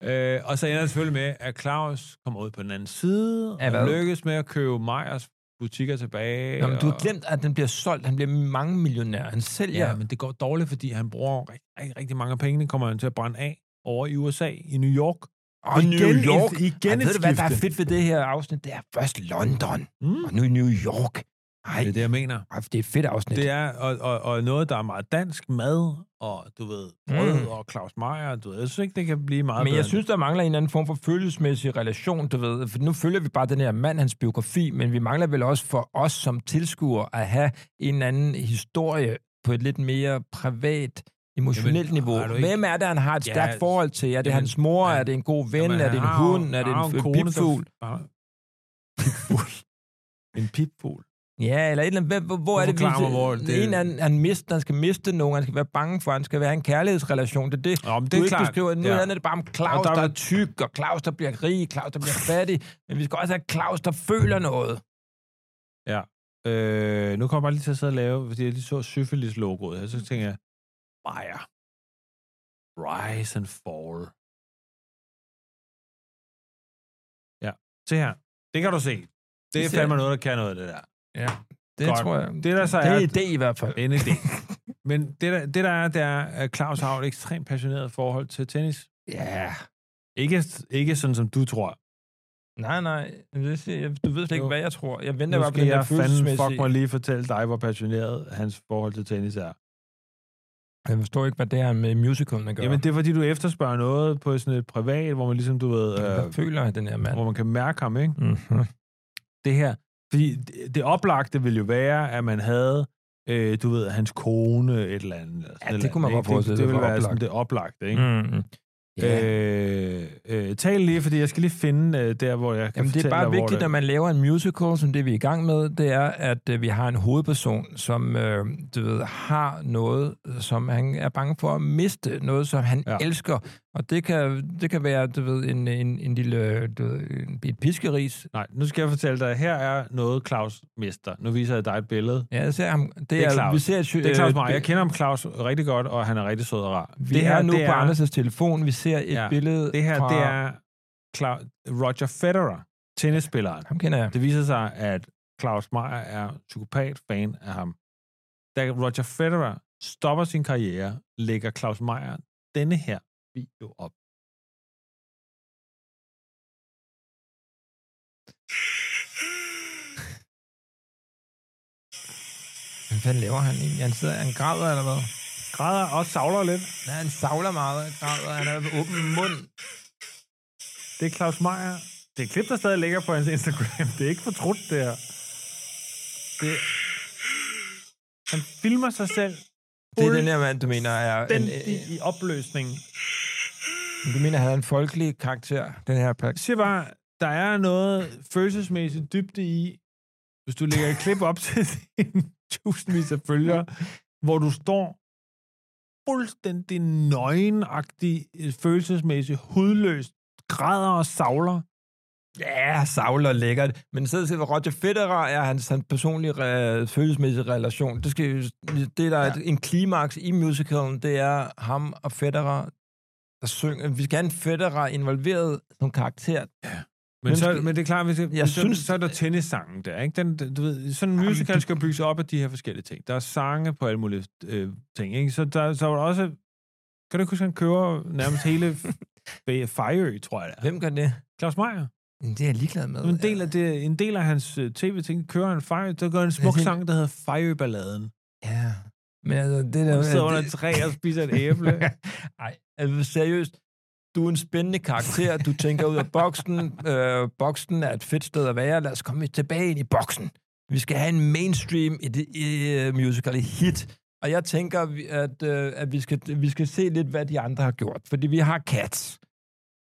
Øh, og så ender det selvfølgelig med, at Claus kommer ud på den anden side,
Af
og
hvad?
lykkes med at købe Meyers butikker tilbage.
Nå, men du har
og-
glemt, at den bliver solgt. Han bliver mange millionær. Han sælger.
Ja, men det går dårligt, fordi han bruger rigtig, rigtig mange penge. Det kommer han til at brænde af over i USA, i New York.
og New York.
Et, igen
Ej,
et
ved du, hvad der er
skifte.
fedt ved det her afsnit? Det er først London,
Mm.
og nu New York. Ej,
Det er det, jeg mener.
ej, det er et fedt afsnit.
Det er, og, og, og noget, der er meget dansk mad, og du ved, brød mm.
Mm.
og Claus Meier, du ved, jeg synes ikke, det kan blive meget
Men
bedre.
jeg synes, der mangler en eller anden form for følelsesmæssig relation, du ved. For nu følger vi bare den her mand, hans biografi, men vi mangler vel også for os som tilskuere at have en eller anden historie på et lidt mere privat, emotionelt
Jamen,
jamen, niveau.
har du ikke-
Hvem er det, han har et
Ja,
stærkt forhold til? Er det
jamen,
hans mor?
han-
Er det en god ven?
Jamen,
er
han
det en
har jo-
hund? Er det
han har
en,
jo
en
kone, der-
pipfugl?
Ah. Pipfugl. en pipfugl.
Ja, eller et eller andet. Hvem- Hvor, hvor er det,
forklarer mig, hvor
det,
det-
en eller anden, han, mister, han skal miste nogen, han skal være bange for, han skal være i en kærlighedsrelation. Det er det,
Nå, men
det du ikke klart. beskriver. Nu
Ja.
ja. er det bare om Claus,
Og der
der,
er-
der er tyk, og Claus, der bliver rig, Claus, der bliver fattig. Men vi skal også have Claus, der føler noget.
Øh, nu kommer jeg bare lige til at sidde og lave, fordi jeg lige så syfilis-logoet her, så tænker jeg, Meier. Rise and fall. Ja, se her. Det kan du se. Det er
Det ser-
fandme noget, der kan noget, det der.
Ja, det
Godt.
tror jeg.
Det, der så
det er
er-
en idé i hvert fald.
En idé. Men det der, det der er, det er, at Claus har et ekstremt passioneret forhold til tennis.
Ja.
Ikke, ikke sådan, som du tror.
Nej, nej. Det siger jeg- Du ved slet ikke,
Jo.
hvad jeg tror. Jeg venter
Nu
bare på
skal
den der
jeg fanden fuck mig
følelsesmæssige...
lige fortælle dig, hvor passioneret hans forhold til tennis er.
Jeg forstår ikke, hvad det er med musicalen at gøre.
Jamen, det er, fordi du efterspørger noget på sådan et privat, hvor man ligesom, du ved,
Hvad
øh,
føler den her mand?
hvor man kan mærke ham, ikke?
Mm-hmm.
Det her. Fordi det, det oplagte ville jo være, at man havde, øh, du ved, hans kone et eller andet. eller sådan
det
et eller
kunne man
andet,
godt
ikke?
forestille
Det,
sig
det ville
var
være sådan
oplagt.
det oplagte, ikke?
Mm-hmm. Ja.
Øh, øh, tal lige, fordi jeg skal lige finde øh, der, hvor jeg kan
Jamen, det er
fortælle
bare
dig,
vigtigt,
hvor
når man laver en musical, som det vi er i gang med, det er, at øh, vi har en hovedperson, som øh, du ved, har noget, som han er bange for at miste, noget, som han
Ja.
ja. elsker. Og det kan, det kan være, du ved, en, en, en lille, øh, du ved, en, et piskeris.
Nej, nu skal jeg fortælle dig, her er noget, Claus mister. Nu viser jeg dig et billede.
Ja, jeg ser ham. Det,
er
er,
Claus.
Vi ser, et,
Det er Claus Meier. Jeg kender ham, Claus, rigtig godt, og han er rigtig sød og rar.
Vi
det
det
her,
er nu
det
på
er,
Anders' telefon. Vi ser et
Ja.
ja. billede
Det her,
fra...
det er Cla- Roger Federer, tennisspilleren.
Ham kender jeg.
Det viser sig, at Claus Meier er psykopat fan af ham. Da Roger Federer stopper sin karriere, lægger Claus Meier denne her video op.
Hvad fanden laver han egentlig? Han sidder, han græder eller hvad?
Græder og savler lidt.
Ja, han savler meget, han græder. Han er med åben mund.
Det er Claus Meier. Det er et klip, der stadig ligger på hans Instagram. Det er ikke fortrudt, det her. Det... Han filmer sig selv
Det er den her mand, du mener er...
den
en- øh,
i opløsning.
Du mener, han havde en folkelig karakter, den her
Jeg
plads?
siger bare, der er noget følelsesmæssigt dybde i, hvis du lægger et klip op til din tusindvis af følgere, hvor du står fuldstændig nøgenagtig, øh, følelsesmæssigt, hudløst, græder og savler
ja, savler lækkert. Men så til, hvad Roger Federer er hans, hans personlige re- følelsesmæssige relation. Det, skal, jo- det der er ja. en klimaks i musicalen, det er ham og Federer, der synger. Vi skal have en Federer involveret som karakter.
Men,
Men
så,
skal-
men det er klart, hvis det,
Jeg
jeg så, synes,
synes-
så er der tennissangen der, ikke? Den, du ved, sådan en
Jamen,
musical
du-
skal jo bygges op af de her forskellige ting. Der er sange på alle mulige øh, ting, ikke? Så der så var der også... Kan du ikke huske, han kører nærmest hele Fe- Fejø, tror jeg det er.
Hvem gør det?
Claus Meier.
Det er jeg ligeglad med.
Det var En del af, det, en del af hans øh, tv-ting kører han Fejø. Der gør en smuk
tænker-
sang, der hedder Fejø-balladen.
Ja. Men altså, det der...
Han sidder under
det-
et træ og spiser et æble.
Ej, altså seriøst. Du er en spændende karakter. Du tænker ud af boksen. Øh, boksen er et fedt sted at være. Lad os komme tilbage ind i boksen. Vi skal have en mainstream i det, i, øh, musical et hit. Og jeg tænker, vi- at, øh, at vi, skal, vi skal se lidt, hvad de andre har gjort. Fordi vi har Cats.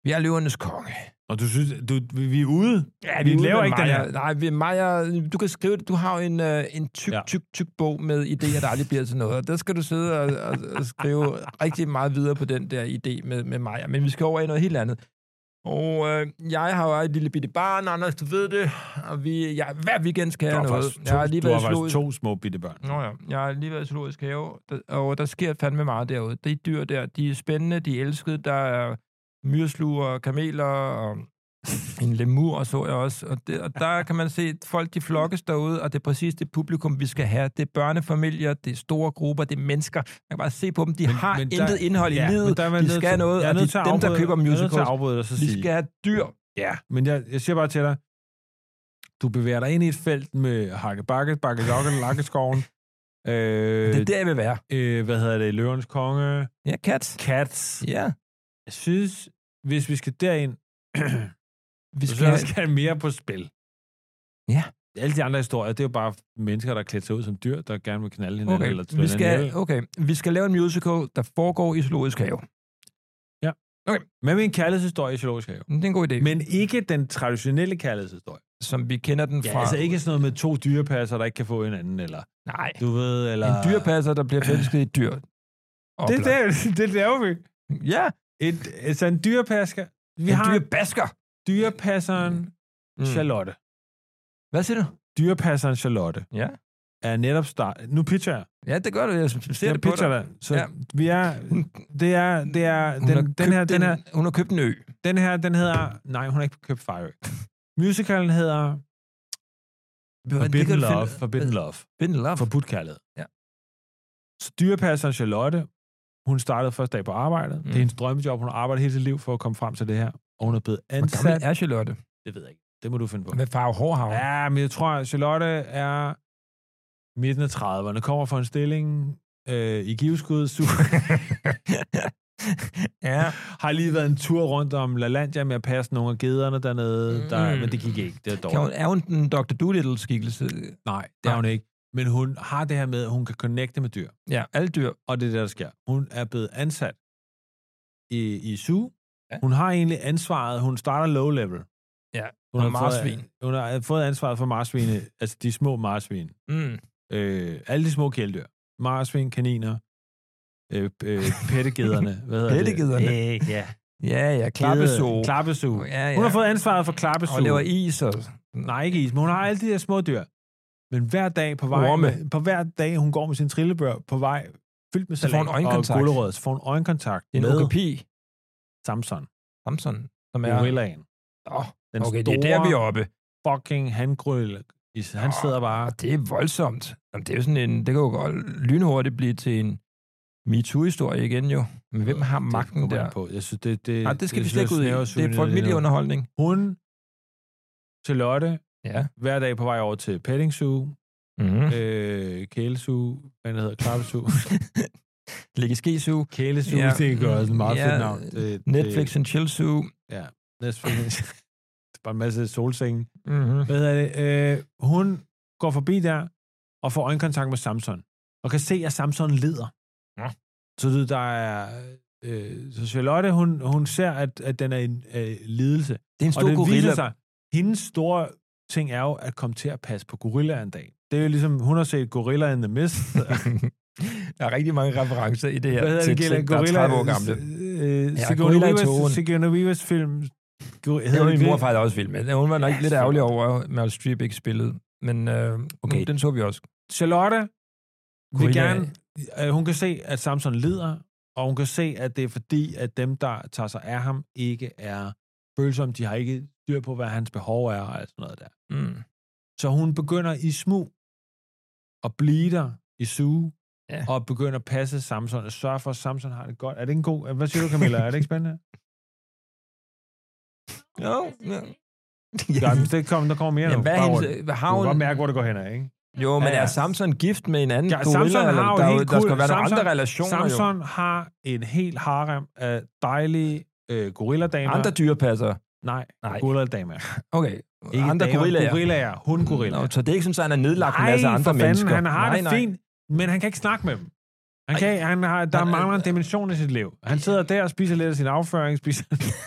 Vi har Løvernes Konge.
Og du synes, du, vi vi er ude?
Ja,
vi
er ude
laver
med
ikke den
Maja.
her.
Nej, vi, Maja, du kan skrive det. Du har jo en, øh, en tyk,
Ja.
ja. tyk, tyk bog med idéer, der aldrig bliver til noget. Og der skal du sidde og, og, og skrive rigtig meget videre på den der idé med, med Maja. Men vi skal over i noget helt andet. Og øh, jeg har jo et lille bitte barn, Anders, du ved det. Og vi, jeg, hver weekend skal
Du
jeg
har
noget.
faktisk
Jeg har lige
to, du
været
har
i
faktisk
zoologisk-
to små bitte børn.
Nå ja, jeg er lige været i zoologisk have, der- og der sker fandme meget derude. De dyr der, de er spændende, de er elskede, der er myresluger, kameler og en lemur så jeg også. Og, det, og der kan man se, at folk de flokkes derude, og det er præcis det publikum, vi skal have. Det er børnefamilier, det er store grupper, det er mennesker. Man kan bare se på dem, de men, har men intet der, indhold i livet.
men der er man
de
nødt
skal
til-
noget,
jeg er
og det
nødt til
er
at
dem, der
afbryde-
køber
jeg er nødt til at
musicals.
afbryde dig og så
Vi
sige,
skal have dyr.
ja, men jeg, jeg siger bare til dig, du bevæger dig ind i et felt med hakkebakke, bakkejokke, lakkeskoven, øh,
Det er
det,
der, jeg vil være.
øh, hvad hedder det, løvernes konge,
Ja, kat.
cats.
Ja.
Jeg synes, hvis vi skal derind,
Vi
så
skal,
skal der
have-
skal mere på spil.
Ja.
Alle de andre historier, det er jo bare mennesker, der er klædt sig ud som dyr, der gerne vil øh, knalde hinanden.
Okay,
Eller slå
vi
hinanden
skal,
ihjel.
okay, vi skal lave en musical, der foregår i zoologisk have.
Hvad med en kærlighedshistorie i zoologisk have?
Det er en god idé, Men,
Men ikke den traditionelle kærlighedshistorie.
som vi kender den fra.
Ja, altså ikke sådan noget med to dyrepasser, der ikke kan få hinanden, eller
Nej,
du ved, eller...
en dyrepasser, der bliver forelsket i et dyr. Og
Det,
bla-
der, det laver vi.
Ja,
Et, altså en dyrepasker. Vi
en
har dyr...
dyrebasker.
dyrepasseren mm. Charlotte.
Hvad siger du?
Dyrepasseren Charlotte
Ja.
er netop start... Nu pitcher jeg.
Ja, det gør du. Jeg ser
jeg
det på
pitcher
dig.
dig. Så ja.
Ja.
vi er...
Hun,
Det er... Det er
hun,
den,
har
den,
købt
her, den, her,
en- hun har købt en ø.
den her, den hedder... Nej, hun har ikke købt Fire. Musicalen hedder
Det kan
Forbidden
du finde-
Love. Forbidden Love.
Forbidden Love.
Forbudt kærlighed.
Ja.
Så dyrepasseren Charlotte, hun startede første dag på arbejdet. Mm. Det er
Mm.
hendes drømmejob. Hun har arbejdet hele sit liv for at komme frem til det her. Og hun er blevet
Hvor gammel
ansat.
er Charlotte?
Det ved jeg ikke. Det må du finde på.
Hvad farve hår har hun?
Ja, men jeg tror, at Charlotte er midten af 30'erne, kommer fra en stilling øh, i giveskud, super,
ja.
har lige været en tur rundt om La Landia med at passe nogle af gederne dernede, der,
Mm.
men det gik ikke, det er
Kan hun,
dårligt.
er hun den Dr. Doolittle-skikkelse?
Nej, det er hun ikke. Men hun har det her med, at hun kan connecte med dyr,
Ja, alle dyr.
og det er det, der sker. Hun er blevet ansat i, i SU.
Ja.
Hun har egentlig ansvaret, hun starter low level.
Ja,
hun har,
og marsvin.
Fået, hun har fået ansvaret for marsvine, altså de små marsvin.
Mm.
øh, alle de små kæledyr. Marsvin, kaniner, øh, øh, pettegederne. Hvad hedder
Pettegederne?
det? Øh, ja.
Ja, ja, klappeså.
Klappesu.
Ja, ja.
Hun har fået ansvaret for klappesu.
Og laver is og...
Nej, ikke is, men hun har alle de der små dyr. Men hver dag på vej,
Orme.
på hver dag, hun går med sin trillebør på vej, fyldt med
Så får
salat
hun
og
øjenkontakt.
gulerød, så får hun øjenkontakt
En
med
okapi.
Samson,
Samson. Som er...
gorillaen.
Åh,
Den
okay, det
store
er der, vi er oppe.
fucking handgorilla. I- Han
Åh,
sidder bare...
Og det er voldsomt. Jamen, det er jo sådan en... Det kan jo godt lynhurtigt blive til en MeToo-historie igen, jo. Men hvem har
Det
magten
kommer
der?
an På. Jeg synes, det, det,
Nej, det skal vi
synes
slet
jeg
ikke ud i.
snæver
Det er
synet nu.
familieunderholdning.
Hun, Charlotte,
Ja.
hver dag på vej over til petting zoo,
Mm-hmm.
øh, kælesu, hvad det hedder, klappesu,
Ligge i skisu.
kælesu, ja.
Ja.
det er også et meget ja.
Ja.
fedt navn. Det,
Netflix and chill su.
Det, Netflix. det er bare en masse solsenge.
Mm-hmm.
Hvad hedder det? Øh, hun går forbi der og får øjenkontakt med Samson, og kan se, at Samson lider.
Nå.
Så du, ved, der er... Øh, så Charlotte, hun, hun ser, at, at den er en øh, lidelse.
Det er en
Og
stor
det
gorilla.
viser sig, hendes store ting er jo at komme til at passe på gorillaer en dag. Det er jo ligesom, hun har set Gorilla in the Mist.
der er rigtig mange referencer i det her.
Hvad hedder
til
det, Gilla?
ting, der er
Gorilla?
30 år gamle.
Øh,
Ja,
Sigourney
Gorilla i
Weavers-
tågen.
Sigourney Weavers film Hedder
Det
det
var min
det?
mor faktisk også vild med. Hun var nok
Ja,
lidt ærgerlig over, at Meryl Streep ikke spillede. Men øh,
Okay.
okay. den så vi også.
Charlotte vil
Corina-
gerne, øh, hun kan se, at Samson lider, og hun kan se, at det er fordi, at dem, der tager sig af ham, ikke er følsomme. De har ikke styr på, hvad hans behov er og alt sådan noget der.
Mm.
Så hun begynder i smug at blive der i suge,
Ja.
og begynder at passe Samson, og sørge for, at Samson har det godt. Er det en god... Hvad siger du, Camilla? er det ikke spændende?
Jo, ja.
Ja, men det kommer, der kommer mere
Jamen,
nu.
hvad er
Bare rolig.
hendes, har
Du kan
hun,
godt mærke, hvor det går hen ad, ikke?
jo, men
Ja, ja.
er Samson gift med en anden
Ja,
ja, gorilla?
Samson har
eller,
jo
der,
en
er
helt
der skal
cool-
være nogle
Samson-
andre relationer Samson,
Samson har en helt harem af dejlige øh,
jo.
gorilladamer.
Andre dyrepassere.
Nej,
Nej.
gorilladamer.
Okay.
Ikke
andre
damer,
gorillaer.
Gorillaer. Hun gorilla.
Nå, så det er ikke sådan, at han er nedlagt med en masse
for
andre
fanden,
mennesker.
han har
nej,
det
nej.
fint, men han kan ikke snakke med dem. Han
Ej.
kan, han har, der
Han er-
mangler en dimension i sit liv. Han sidder der og spiser lidt af sin afføring, spiser,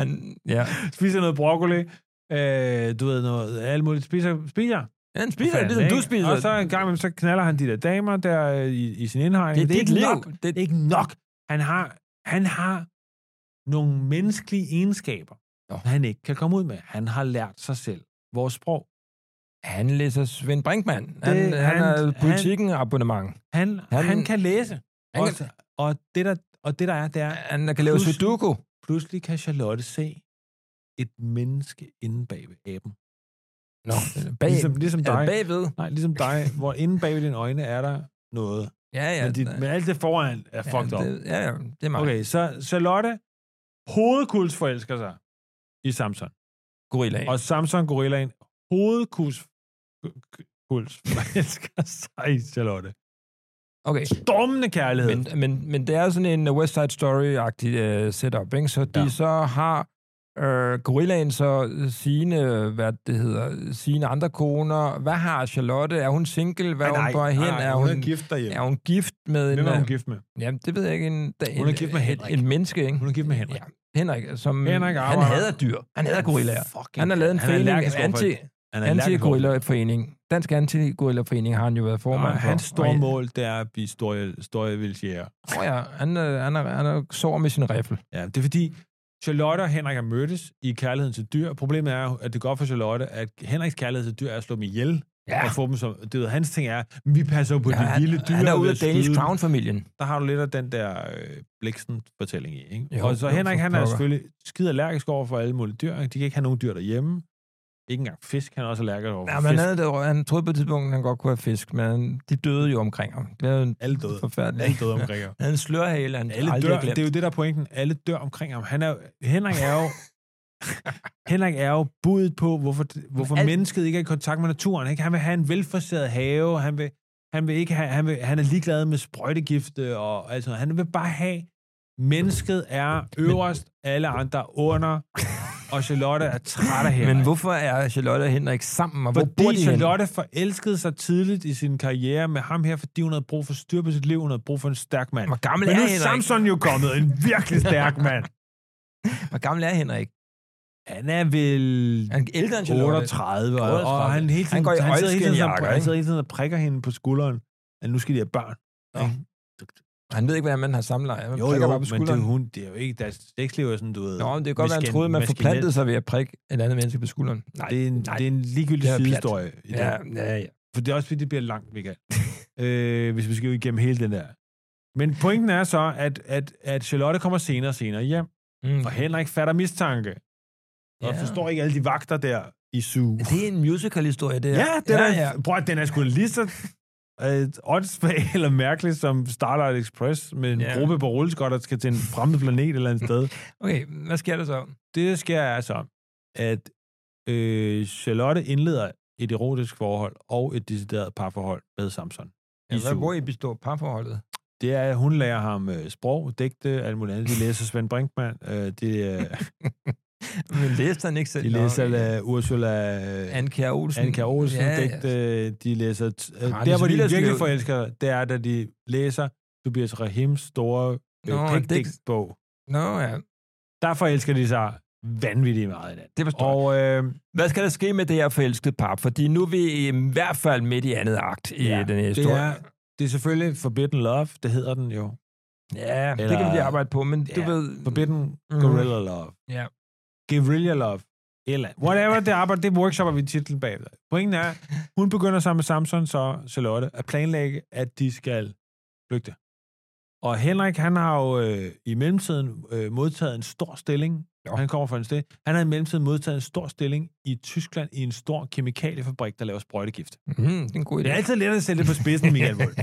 Han, ja.
spiser noget broccoli, øh, du ved noget, alt muligt. Spiser, spiser.
han spiser,
Fanden,
ligesom du
ikke?
spiser.
Og så en gang imellem, så knaller han de der damer der øh, i, i sin indhegning.
det er dit
ikke
liv.
Nok.
Det,
Det er ikke nok. Han har, han har nogle menneskelige egenskaber,
Nå.
som han ikke kan komme ud med. Han har lært sig selv vores sprog.
han læser Svend Brinkmann. Han,
Det-
det, han,
han-
er politikken abonnement.
Han, han,
Han-
han kan læse.
Han
og,
kan-
og, det der, og det der er, det er,
Han kan lave
Plus-
sudoku.
pludselig kan Charlotte se et menneske inde bag ved aben.
Nå, bag,
Ligesom, ligesom
er det
dig.
bagved.
Nej, ligesom dig, hvor inde bag ved dine øjne er der noget.
Ja, ja.
Ja, men, dit,
der-
men alt det foran er fucked
ja,
up.
det- Ja, ja, det er mig. Okay.
Okay, så Charlotte hovedkuls forelsker sig i Samson.
Gorilla.
Og Samson Gorillaen hovedkuls kuls forelsker sig i Charlotte.
Okay.
Stormende kærlighed.
Men, men, men det er sådan en øh, West Side Story-agtig uh, setup, ikke? Så de
Ja.
ja. så har øh, gorillaen så uh, sine, hvad det hedder, sine andre koner. Hvad har Charlotte? Er hun single?
Ah,
Hvad er hun på hen? er, hun,
hun er gift derhjemme.
er hun gift med en...
Hvem er hun
øh,
gift med?
Jamen, det ved jeg ikke. En, da- en,
Hun er gift med Henrik.
En, en menneske, ikke?
Hun er gift med Henrik.
Ja, Henrik, som...
Henrik
han
arbejder-
hader dyr. Han hader gorillaer.
Fucking-
Han har lavet en
han er
forening,
allergisk overfor-
anti,
han er allergisk overfor-
anti-gorilla-forening. Dansk anti-gorilla-forening har han jo været
Og
formand for.
hans store
Og-
mål, det er at blive store, store vildsjæger.
Åh oh, ja, han, øh, han, er, han er sår med sin riffel.
Ja, det er fordi, Charlotte og Henrik har mødtes i kærligheden til dyr. Problemet er, at det går for Charlotte, at Henriks kærlighed til dyr er at slå dem ihjel. Og få dem som, det ved, hans ting er, vi passer jo på ja, de
han,
vilde dyr.
han er
og
ude
ved
af
at
Danish
skyde dem.
Crown-familien.
Der har du lidt af den der øh, Bliksen-fortælling i. Ikke?
Jo,
og så
jo,
Henrik,
for
han er
pokker.
selvfølgelig skide allergisk over for alle mulige dyr. ikke? De kan ikke have nogen dyr derhjemme. Ikke engang fisk, han er også allergisk over for
Ja,
ja,
men han,
fisk.
havde, det- han troede på et tidspunkt, at han godt kunne have fisk, men de døde jo omkring ham. Det var jo en
Alle døde.
forfærdelig.
Alle døde omkring ham.
Han havde en slørhale, han
Alle
aldrig
dør,
har glemt.
det er jo det, der er pointen. Alle dør omkring ham. Han er, jo- Henrik er jo... Henrik er jo budet på, hvorfor, hvorfor
Alt-
mennesket ikke er i kontakt med naturen. Ikke? Han vil have en velforseret have, han, vil, han, vil ikke have, han, vil, han er ligeglad med sprøjtegifte og alt sådan noget. Han vil bare have, mennesket er øverst, alle andre er under, og Charlotte er træt af Henrik.
Men hvorfor er Charlotte og Henrik sammen, og hvor bor
Fordi
de henne?
Charlotte forelskede sig tidligt i sin karriere med ham her, fordi hun havde brug for styr på sit liv, hun havde brug for en stærk mand.
Hvor gammel
Men
er
nu er
Henrik?
Samson jo kommet, en virkelig stærk mand.
Hvor gammel er Henrik?
Han er vel
Han er ældre end Charlotte.
38, og,
38.
og han, hele tiden,
Han går i
han, sidder hele tiden, sådan-
oilskinjakker,
han
ikke?
sidder hele tiden og prikker hende på skulderen, at nu skal de have børn.
Nå.
ikke?
Han ved ikke, hvordan man har samleje. Han
Jo,
prikker
jo, men
bare på
det,
skulderen.
er hun, det er jo ikke, deres sexliv er sådan, du ved.
Nå, men det kan godt være, han
maskin-
troede, man
maskinel.
forplantede sig ved at prikke et andet menneske på skulderen. Nej,
Det er en,
nej.
det er en ligegyldig
Det er pjat.
sidehistorie. i det.
ja, ja, ja.
For det er også fordi, det bliver langt, Michael. øh, hvis vi skal jo igennem hele den der. Men pointen er så, at, at, at Charlotte kommer senere og senere hjem,
Mm.
og Henrik fatter mistanke, og
Ja.
forstår ikke alle de vagter der i suge.
Det er en musical-historie, det her.
Ja, den ja, er, ja. Prøv, at den er sgu lige så øh, åndssvag eller mærkelig som Starlight Express med en ja.
Ja.
gruppe på rulleskot, der skal til en fremmed planet et eller andet sted.
Okay, hvad sker der så?
Det, der sker, er så, at øh, Charlotte indleder et erotisk forhold og et decideret parforhold med Samson.
Ja, hvad,
Zoo.
hvor I består parforholdet?
Det er, at hun lærer ham øh, sprog, digte, alt muligt andet. De læser Svend Brinkmann, øh, de, øh,
Men læste han ikke selv?
de
Nå,
læser øh, Ursula øh,
Anne Kjær Olsen.
Anne Kjær Olsen, øh,
Ja,
ja,
ja.
digte, de læser... T- øh,
Randis
der, hvor de
Villerslev.
virkelig forelsker, det er, da de læser Tobias Rahims store
Nå,
øh,
digt.
pækdigtbog.
Nå ja,
Der forelsker de sig vanvittigt meget i den.
det forstår og...
Og øh,
Hvad skal der ske med det her forelskede par? Fordi nu er vi øh, i hvert fald midt i andet akt i
Ja,
den her
det
historie.
er, det er selvfølgelig Forbidden Love, det hedder den jo.
Ja, Eller, det
Eller-
kan vi arbejde på, men ja, du
Ja,
ved...
Forbidden
Mhm.
Gorilla Love.
Ja.
Guerrilla Love. Eller andet. Whatever, det arbejde, det workshopper vi titlen bagved. Pointen er, hun begynder sammen med Samson, så Charlotte, at planlægge, at de skal flygte. Og Henrik, han har jo øh, i mellemtiden øh, modtaget en stor stilling.
Nå.
Han kommer fra en sted. Han har i mellemtiden modtaget en stor stilling i Tyskland i en stor kemikaliefabrik, der laver sprøjtegift.
Mm, det er en god idé.
Det er altid let at sætte det på spidsen, Michael Wold.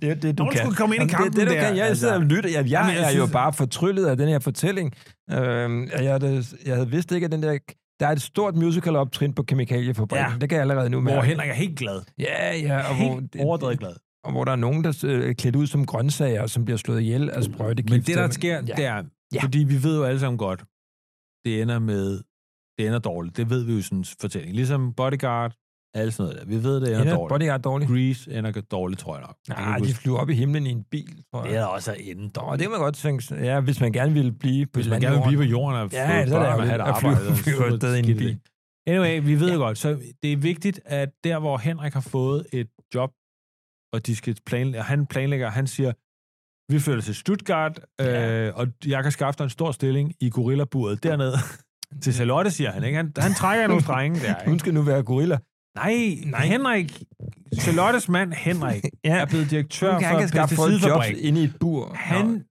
det er det, du
Nogen
kan.
skulle komme ind i
Jamen,
kampen
det, det, du
der,
kan. Jeg
altså.
sidder og lytter. Jeg, jeg,
Jamen, jeg
jeg er jo
synes-
bare fortryllet af den her fortælling. Øhm, jeg, havde, jeg havde vidst ikke, at den der... Der er et stort musical optrin på Kemikaliefabrikken. Ja.
Ja.
Det kan jeg allerede nu
Hvor
mærke.
Henrik er helt glad.
Ja, ja. Og hvor,
Helt overdrevet glad.
og hvor der er nogen, der øh, er klædt ud som grøntsager, som bliver slået ihjel af sprøjtegifte.
Men det, der sker, ja. det er,
Ja.
ja. fordi vi ved jo alle sammen godt, det ender med, det ender dårligt. Det ved vi jo i sådan en fortælling. Ligesom Bodyguard, alt sådan noget der. Vi ved, det ender,
er
dårligt.
Bodyguard er dårligt.
Grease ender dårligt, tror jeg nok. Jeg kan
Nej,
ikke
de
huske.
flyver op i himlen i en bil, tror jeg.
det er da også at ende
Nå, det
dårligt.
kan man godt tænke. Ja, hvis man gerne ville blive på
Hvis man gerne vil blive på
landjorden.
jorden og få
Ja, så er det
børn og
ærgerligt
have et
at flyve-
arbejde. det er en
flyve
super
afsted i en
skidt
bil.
idé. Anyway, vi ved ja. godt, så det er vigtigt, at der, hvor Henrik har fået et job, og de skal planlægge, og han planlægger, han siger, vi flytter til Stuttgart,
Ja.
ja. øh, og jeg kan skaffe dig en stor stilling i gorillaburet dernede. til Charlotte, siger han, ikke? Han, han trækker nogle strenge der,
Hun
ikke?
skal nu være gorilla.
Nej, nej, Henrik, Charlottes mand Henrik,
Ja,
er blevet direktør
hun kan
for
ikke
en
skaffe folk jobs
pesticidfabrik.
inde i et bur.
Han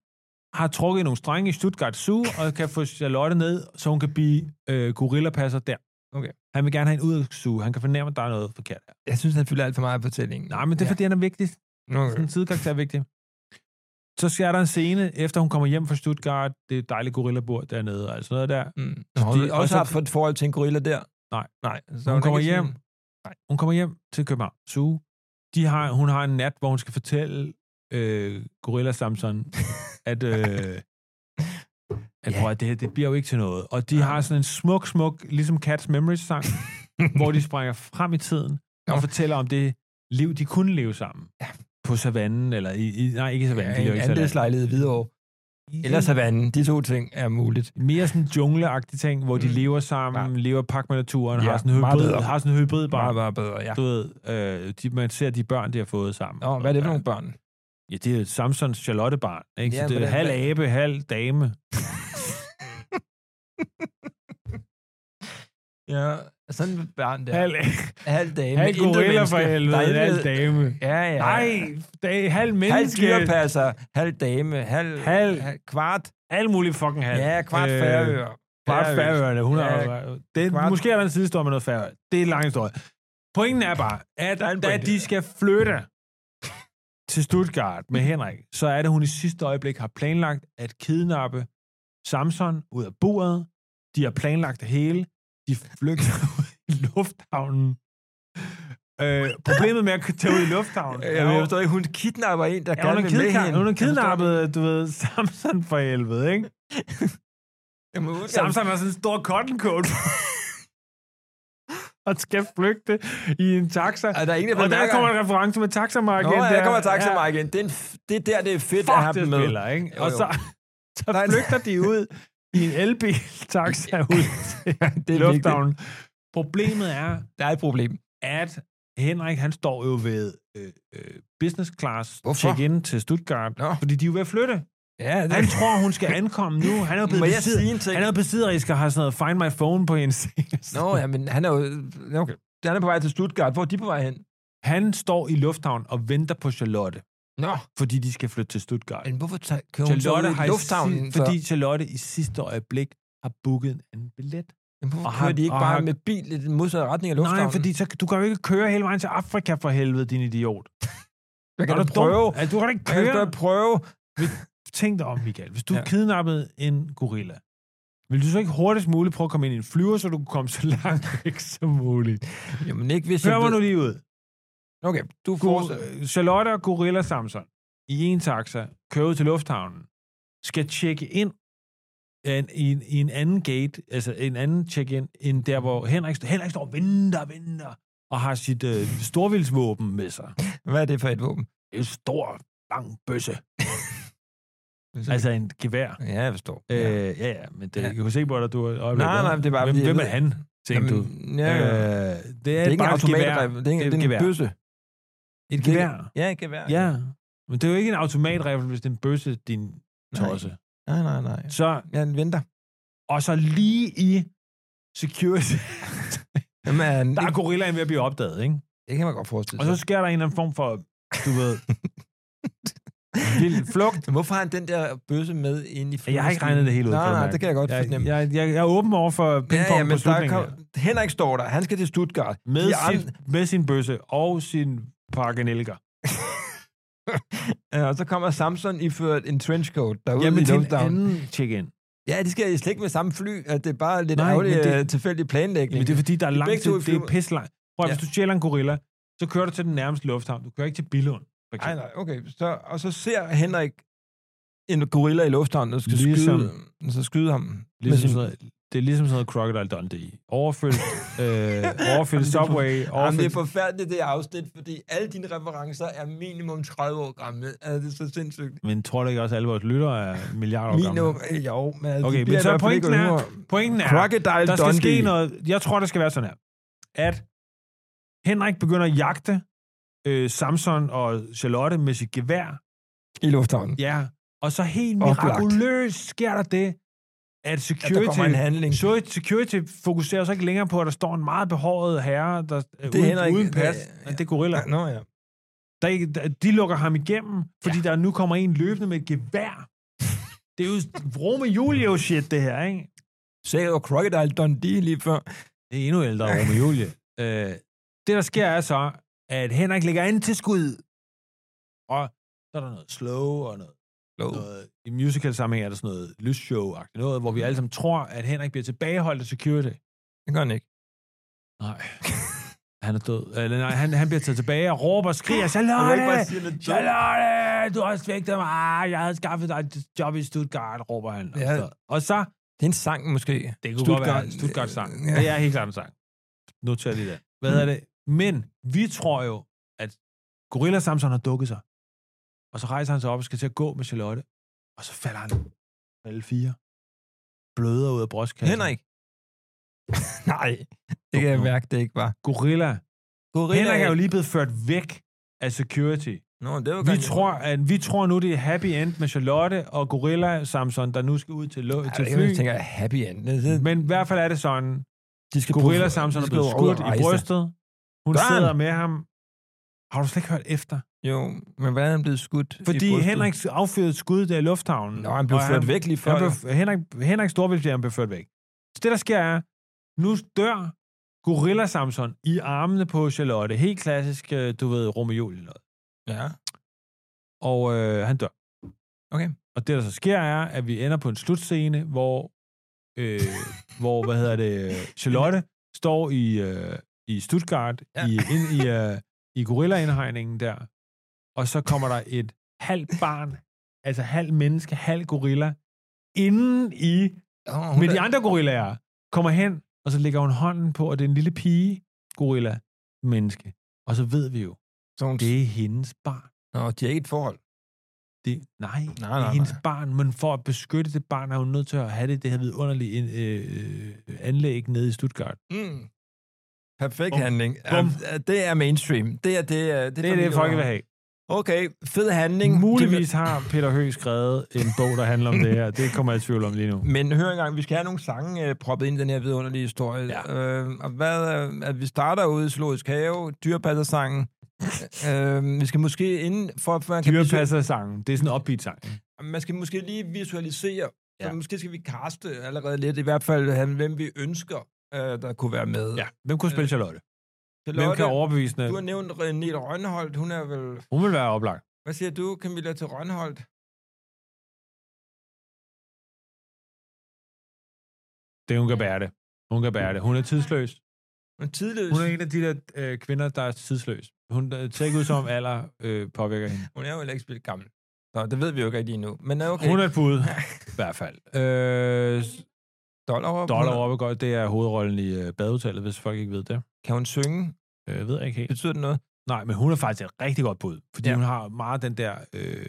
har trukket nogle strenge i Stuttgart Zoo, og kan få Charlotte ned, så hun kan blive øh, gorillapasser der.
Okay.
Han vil gerne have en ud af Zoo. Han kan fornemme, at der er noget forkert her.
Jeg synes, han fylder alt for meget af fortællingen.
Nej, men det er, ja. fordi han er vigtig. Sådan
Okay.
en sidekarakter er vigtig. Så sker der en scene, efter hun kommer hjem fra Stuttgart. Det er et dejligt gorillabord dernede, og alt sådan noget der.
Mm. Nå, Hun
de-
har
og
også
så-
haft et forhold til en gorilla der.
Nej.
Nej. Så
Hun
er
kommer
ikke
hjem.
sådan-
Hun kommer hjem til København Zoo. De har, hun har en nat, hvor hun skal fortælle øh, Gorilla Samson, at, øh, at
Ja.
yeah. prøv, at det, her, det bliver jo ikke til noget. Og de har sådan en smuk, smuk, ligesom Cats Memories-sang, hvor de springer frem i tiden og
Nå.
fortæller om det liv, de kunne leve sammen. På savannen, eller i, i nej, ikke i savannen, ja, de
Ja,
lever ikke
en
i savannen.
andelslejlighed i Hvidovre. Eller savannen. De to ting er muligt.
Mere sådan jungleagtige ting, hvor de
Mm.
lever sammen, lever pak med naturen,
Ja,
har sådan en
meget
hybrid,
bedre.
har sådan en hybrid
Bare,
barn.
bare bedre, ja.
Du ved, øh, de, man ser de børn, de har fået sammen.
Nå, hvad er det for nogle børn?
Ja, det er Samsons Charlotte-barn, ikke?
Ja,
Ja, så det er
hvordan-
halv abe, halv dame.
Ja, sådan et barn der.
Halv,
halv dame.
halv
intet
gorilla
menneske.
for
Der er
helvede,
intet-
halv dame.
Ja, ja.
Nej, da, halv
Halv
menneske.
skirpasser, halv dame, halv,
Halv-
kvart.
Alle mulige fucking halv.
Ja, kvart øh, færøer.
Kvart
Færøs.
færøerne. Hun
Ja,
ja, det,
kvart-
kvart. Måske er der en sidehistorie med noget færøer. Det er en lang historie. Pointen er bare, at
Der er en
da
pointe.
de skal flytte til Stuttgart med Henrik, så er det, hun i sidste øjeblik har planlagt at kidnappe Samson ud af buret. De har planlagt det hele. De flygter ud i lufthavnen. Øh, problemet med at tage ud i lufthavnen...
Jeg
er jo-
forstår ikke, hun kidnapper en, der
Ja,
gerne
hun
vil
har
med hende.
kidna- hun har
Jeg forstår
kidnappet, du ved, Samson for helvede, ikke?
ikke. Jamen, hun-
Samson har sådan en stor cotton coat. og skal flygte i en taxa.
Er der ingen, der
og der
bemærker?
kommer en reference med taxa Mark
Nå,
ind
der kommer taxa mig igen. Det er, en f- det er der, det er fedt at
Fuck,
have
det
dem med.
spiller, ikke?
Jo,
Og
jo.
så, så
Der er en-
flygter de ud i en elbil-taxa ud
Det
til
er vigtigt.
lufthavnen. Problemet er,
Der er et problem.
at Henrik, han står jo ved øh, øh, business class
Hvorfor?
check-in til Stuttgart,
Nå.
fordi de er jo ved at flytte.
Ja, det
Han tror, hun skal ankomme nu. Han er jo
Må
blevet
jeg sige en ting?
besidder. Han er jo besidderisk og har sådan noget find my phone på hendes
Nå, ja, men han er jo... Okay. Han er på vej til Stuttgart. Hvor er de på vej hen?
Han står i lufthavn og venter på Charlotte,
Nå,
fordi de skal flytte til Stuttgart.
men hvorfor tager, kører hun så
Charlotte
ud i
har i
lufthavnen?
si- fordi Charlotte i sidste øjeblik har booket en anden billet.
Jamen, hvorfor
Og
kører
har-
de ikke
og
bare
har-
med bil i den modsatte retning af lufthavnen?
Nej, fordi så, du kan jo ikke køre hele vejen til Afrika for helvede, din idiot.
jeg kan
Er
da
du dum?
prøve.
Altså, du kan da ikke
Jeg kan da
køre.
prøve.
Tænk dig om, Michael. Hvis du
Ja.
ja. kidnappede en gorilla, vil du så ikke hurtigst muligt prøve at komme ind i en flyver, så du kan komme så langt væk som muligt?
Jamen ikke hvis
Hør mig
ved-
nu lige ud.
Okay, du
Gor-
fortsætter.
øh, Charlotte og Gorilla Samson i en taxa kører ud til lufthavnen, skal tjekke ind af en, i, en, i en anden gate, altså en anden check-in, end der, hvor Henrik, st- Henrik står og venter og venter, og har sit øh, storvildsvåben med sig. Det
Hvad er det for et våben?
er En stor, lang bøsse.
Mm.
Altså en gevær.
ja, jeg forstår.
Øh,
ja.
ja, ja, men det,
Ja.
jeg kunne se på dig, du er
Nej, nej, det er bare...
hvem,
fordi jeg
hvem
ved-
er han, tænkte du?
Jamen, Ja, ja. Øh,
Øh, det er,
det er ikke
bare
en
et
automat,
gevær.
det er, ikke,
Det er
det er en
gevær.
bøsse.
Et
Det er-
gevær.
Ja, et gevær.
Ja. Men det er jo ikke en automatriffel, hvis det er en bøsse, din tosse.
Nej, nej, nej.
Så,
Jeg venter.
og så lige i security,
Jamen,
der er
det,
gorillaen ved at blive opdaget, ikke?
det kan man godt forestille
Og så sker der en eller anden form for, du ved, vild flugt.
Men Hvorfor har han den der bøsse med ind i flyet?
Jeg har ikke regnet det hele ud.
Nej,
kan du
nej,
mærke.
det kan jeg godt
jeg,
fornemme.
jeg, jeg, jeg er åben over for pingpong ja, ja, på
der
slutningen her.
kom, Henrik står der. Han skal til Stuttgart.
Med,
De
sit, med sin bøsse og sin pakke nelker.
andre- Øh, og så kommer Samson iført en trenchcoat derude
Jamen
i
til en
lufthavnen.
anden check-in.
Ja, de skal i slægt med samme fly. At det er bare lidt
Nej,
ærgerlig
men det-
øh, tilfældig planlægning.
Men det er fordi, der er
begge
langt til,
to i
det er
flyver-
pis langt. Prøv, at,
Ja.
hvis du stjæler en gorilla, så kører du til den nærmeste lufthavn. Du kører ikke til Billund. for
Nej,
eksempel.
nej, okay. Så, og så ser Henrik en gorilla i lufthavnen, der skal
Ligesom-
skyde, mm, så skyde ham.
Ligesom
Med sin-
sådan noget, det er ligesom sådan noget Crocodile Dundee. Overfyldt, øh,
Jamen,
overfyldt
det er
Subway,
Jamen, det er
overfyldt
forfærdeligt, det afsnit, fordi alle dine referencer er minimum 30 år gamle. Altså, det er så sindssygt.
Men tror du ikke også, at alle vores lyttere er milliarder år gamle?
Minimum, øh, jo, men altså,
Okay,
de
men
bliver
så
i hvert fald
pointen
ikke
er-
yngre.
Pointen er,
Crocodile
der skal
Dundee.
ske noget. Jeg tror, det skal være sådan her. At Henrik begynder at jagte øh, Samson og Charlotte med sit gevær.
i lufthavnen.
Ja. Og så helt
Oplagt.
mirakuløst sker der det, at
At der
security...
kommer en handling.
Så security fokuserer så ikke længere på, at der står en meget behåret herre, der det uden,
Henrik- øh,
uden pas.
det-
Det, det er gorilla.
Ja, Nå ja.
Der, er ikke- der, de lukker ham igennem, fordi ja. der nu kommer en løbende med et gevær. det er jo Romeo Julio shit, det her, ikke?
Sagde jo Crocodile Dundee lige før.
Det er endnu ældre, Romeo Julie. øh, det, der sker, er så, at Henrik lægger ind til skud, og så er der noget slow og noget...
Lå.
noget I musical sammenhæng er der sådan noget lysshow noget, hvor vi alle sammen tror, at Henrik bliver tilbageholdt af security.
Det gør han ikke.
Nej. Han er død. Eller, nej, han, han bliver taget tilbage og råber og skriger,
Han kan ikke bare
Charlotte!
sige lidt dumt.
Charlotte! Du har svigtet mig! Ah, Jeg havde skaffet dig et job i Stuttgart, råber han. Og
Ja.
så, og så
Det er en sang måske.
det kunne Stuttgart,
Stuttgart-
godt være Stuttgart sang.
Ja.
Ja. Det er helt klart en sang. Noter lige det. Hvad hedder det? Men vi tror jo, at Gorilla Samson har dukket sig. Og så rejser han sig op og skal til at gå med Charlotte. Og så falder han med alle fire. Bløder ud af brystkassen.
Henrik. Nej, det kan jeg mærke, det ikke var.
Gorilla.
Gorilla
Henrik er jo lige blevet ført væk af security.
Nå, det var
Vi
godt.
tror, at, vi tror nu, det er happy end med Charlotte og Gorilla Samson, der nu skal ud til, lo-
Ej,
til
det er jo,
fly.
Jeg tænker, happy end. Det, det,
Men i hvert fald er det sådan,
de skal
Gorilla
på-
Samson
de
er
skal
blevet
jo
skudt
ud og
i
rejse.
brystet. Hun
Gør han?
sidder med ham. Har du slet ikke hørt efter?
Jo, men hvordan er han blevet skudt i
Fordi
brystet?
Henrik affyrede et skud der i lufthavnen.
Nå, han blev
Og
ført væk lige før.
Han blev, Henrik, Henrik Storvild bliver han blev ført væk. Så det, der sker, er, nu dør Gorilla Samson i armene på Charlotte. Helt klassisk, øh, du ved, Romeo eller noget.
Ja.
Og øh, han dør.
Okay.
Og det, der så sker, er, at vi ender på en slutscene, hvor, øh, hvor hvad hedder det, Charlotte står i, øh, i Stuttgart,
Ja.
ja. i, ind i, øh, i gorillaindhegningen der, og så kommer der et halvt barn, altså halv menneske, halv gorilla, inden i,
Oh,
med de andre gorillaer, kommer hen, og så lægger hun hånden på, og det er en lille pige, gorilla, menneske. Og så ved vi jo,
Så hun,
det er hendes barn.
Nå, de har ikke et forhold.
Det, nej, nej,
nej,
nej, det er
nej.
hendes barn, men for at beskytte det barn, er hun nødt til at have det, det her vidunderlige ind- øh, øh, anlæg nede i Stuttgart.
Mm. Perfekt
Bum.
handling.
Bum.
Ja, det er mainstream. Det er det, øh,
Det er det, folk vil have.
Okay, fed handling.
Muligvis har Peter Høgh skrevet en bog, der handler om det her. Det kommer jeg i tvivl om lige nu.
Men hør engang, vi skal have nogle sange øh, proppet ind i den her vidunderlige historie.
Ja.
Øh, og hvad, øh, at vi starter ude i Zoologisk Have, dyrepassersangen. øh, vi skal måske inden, for at man kan, visual,
Dyrepasser-sangen, det er sådan en upbeat-sang.
man skal måske lige visualisere, ja. så
Ja.
måske skal vi kaste allerede lidt, i hvert fald han- hvem vi ønsker, øh, der kunne være med.
Ja. Hvem kunne spille Øh, Charlotte? Hvem
Charlotte,
kan overbevise hende?
du har nævnt René Rønholdt, hun er vel...
Hun vil være oplagt.
Hvad siger du, Camilla, til Rønholdt?
Det hun kan bære det. Hun kan bære det. Hun er tidsløs.
Hun er tidløs.
Hun er en af de der øh, kvinder, der er tidsløs. Hun øh, ser ikke ud som om alder øh, påvirker hende.
Hun er jo heller ikke spillet gammel. Så det ved vi jo ikke rigtig endnu. Men øh, okay,
Hun er et bud, i hvert fald. Øh,
dollar op.
Dollar oppe godt, det er hovedrollen i øh, badehotellet, hvis folk ikke ved det.
Kan hun synge?
Øh, Jeg ved jeg ikke helt.
Betyder det noget?
Nej, men hun er faktisk et rigtig godt bud, fordi
Ja.
ja. hun har meget den der, øh,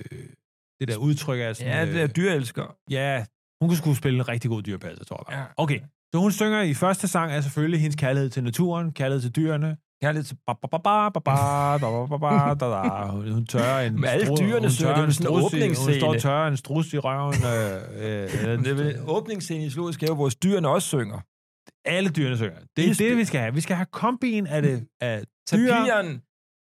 det der udtryk af sådan...
Ja, det er
øh,
dyrelsker.
ja, hun kunne skulle spille en rigtig god dyrepasser, tror jeg.
Ja.
Ja. Okay, så hun synger i første sang er selvfølgelig hendes kærlighed til naturen, kærlighed til dyrene,
kærlighed til... Ba, ba, ba,
ba, ba, ba, da, ba, ba, ba, da, da. Hun- Hun tørrer en
Men alle
stru-
dyrene
hun
søger,
tørrer
det er
en
sådan en
strus i- Hun står og
åbningsscene.
tørrer en strus i røven. Øh, øh, øh, det, vil,
Åbningsscenen i Zoologisk Have, hvor dyrene også synger.
alle dyrene søger. Det er
Isbjørn.
det, vi skal have. Vi skal have kombien af det. Af dyr.
Tapiren,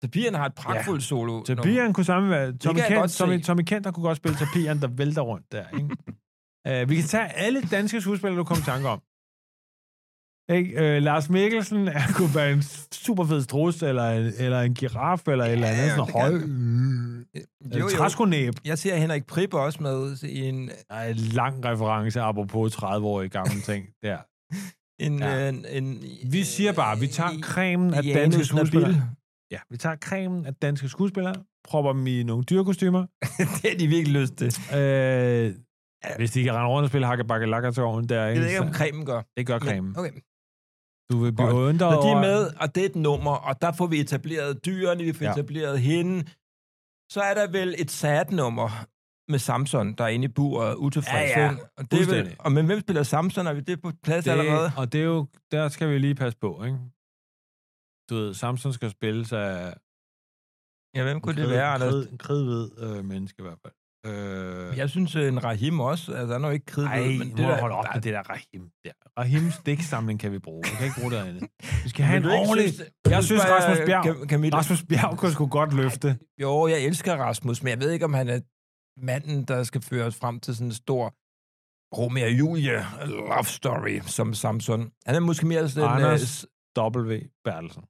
tapiren har et pragtfuldt solo.
Tapiren kunne samme være. Tommy
kan jeg
Kent,
godt se.
Tommy, Tommy Kent, der kunne godt spille tapiren, der vælter rundt der. Ikke? uh, vi kan tage alle danske skuespillere, du kom i tanke om. Ikke? Uh, Lars Mikkelsen er, kunne være en super fed strus, eller, en- eller en giraf, eller ja, et eller andet
Ja,
sådan
det
høj.
kan- Jo,
en
jo.
Træskonæb.
Jeg ser Henrik Prippe også med i en,
Der er en lang reference apropos 30-årige gamle ting der.
en,
Ja.
ja. en, en,
Vi siger bare, vi tager cremen af
Janus
danske
Nabil.
skuespillere. Ja, vi tager cremen af danske skuespillere, propper dem i nogle dyrekostymer.
det har de virkelig lyst til.
Øh, hvis de kan rende rundt og spille hakkebakke lakker til ovnen der,
Jeg
ikke?
ved ikke, om cremen gør.
det gør
Men-
cremen.
Okay.
Du vil blive
Godt.
undret
Når de er
over-
med, og det er et nummer, og der får vi etableret dyrene, vi får
øhm, Ja.
ja. etableret hende, så er der vel et sad nummer med Samson, der er inde i buret, utilfreds.
Ja, ja.
ikke? Og, det er vel,
Fuldstændig.
og men hvem spiller Samson? Er vi det på plads det... allerede?
det, og det er jo, der skal vi lige passe på, ikke? Du ved, Samson skal spilles af
Ja, hvem kunne
en
det
kred-
være,
en
Anders?
kred- en kridhvid øh, menneske i hvert fald. Øh,
Jeg synes, en Rahim også. Altså, han er jo ikke kridhvid.
Ej, men
men
det må der, holde op med det der Rahim. Der. Rahims dæksamling kan vi bruge. Vi kan ikke bruge det andet. Vi skal have en ordentlig... Jeg synes, Rasmus Bjerg,
Kan, kan mit,
Rasmus Bjerg kunne sgu godt løfte.
Jo, jeg elsker Rasmus, men jeg ved ikke, om han er manden, der skal føre os frem til sådan en stor Romeo og Julie love story som Samson. Han er måske mere sådan...
Anders
øh,
W. Bertelsen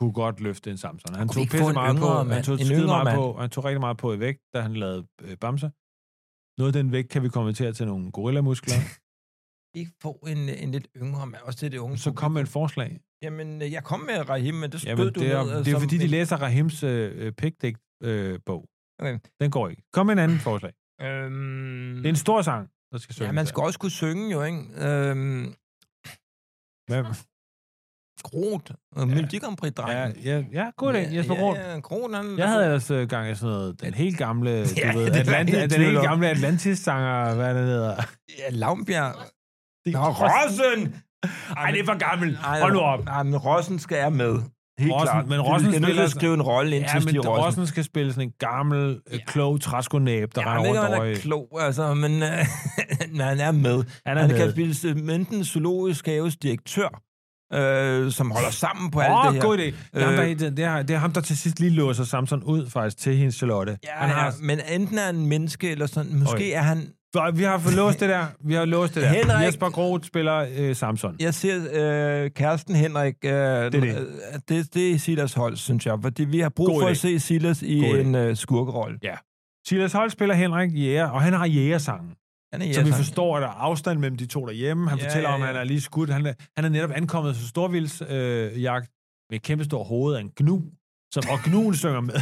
kunne godt løfte en Samson. Han
Kunne vi
tog
ikke få
pisse
en
meget
yngre
på, han
mand?
tog,
En
skide
yngre
meget
mand?
på, han tog rigtig meget på i vægt, da han lavede øh, Bamse. Noget af den vægt kan vi konvertere til nogle gorillamuskler.
ikke få en, en lidt yngre mand, også til det unge.
Så kom med et forslag.
Jamen, øh, jeg kom med Rahim, men det skød
Jamen,
du
det er,
ned. øh,
det er
som
fordi, de
en-
læser Rahims øh, pigdigt øh, bog.
Okay.
Den går ikke. Kom med en anden forslag.
Øhm,
Det er en stor sang, der skal synge.
ja, man skal også kunne synge jo, ikke? Øhm, Groth, ja. øh, Melodi Grand Prix
Ja,
drengen.
ja, ja god idé, Jesper Roth.
Ja, ja, Groth, han...
Jeg havde ellers øh, gang i sådan noget, den helt gamle, du
Ja,
ved,
det er
Atlant-
helt
den helt
tvivl om.
gamle Atlantis-sanger, hvad det hedder.
Ja, Lavnbjerg.
Det
Nå, Rossen! Ej, det er for gammel. Ej,
Hold nu op.
Ej, men Rossen skal jeg med. Helt
Rossen-
klart.
men Rossen
skal
spiller-
nødt til at skrive en rolle ind
Ja,
til
men
Stig
Rossen.
Rossen.
Rossen skal spille sådan en gammel, øh,
Ja.
klog træskonæb, der
Ja,
render
jeg ved ikke, om
rundt
han
over i...
er klog, altså, men, øh, men han er med.
Han
Han kan
med.
spille øh, enten zoologisk haves direktør, øh, som holder sammen på alt
Åh,
det
oh,
her.
god idé. Det er, ham, der,
Øh,
hele tiden- det, er, det er ham, der til sidst lige låser Samson ud faktisk til hendes Charlotte.
Ja,
han har,
ja, men enten er han en menneske, eller sådan. Måske
Okay.
er han...
For Vi har fået låst det der. Vi har låst det der.
Henrik-
Jesper Groth spiller øh, Samson.
Jeg ser øh, kæresten Henrik... Øh, det, er
det.
det, det er Silas hold, synes jeg. Fordi vi har brug
God
for
idé.
at se Silas i
God idé.
en øh, skurkerolle.
Silas Holt spiller Henrik Jæger, og han har jægersangen.
Han er
Så vi
jæger-
forstår, at der er afstand mellem de to derhjemme. Han
Ja,
ja, fortæller
ja,
om, at han
ja.
er lige skudt. Han er, han er netop ankommet til storvildsjagt øh, jagt med et kæmpestort hoved af en gnu, som, og gnuen synger med.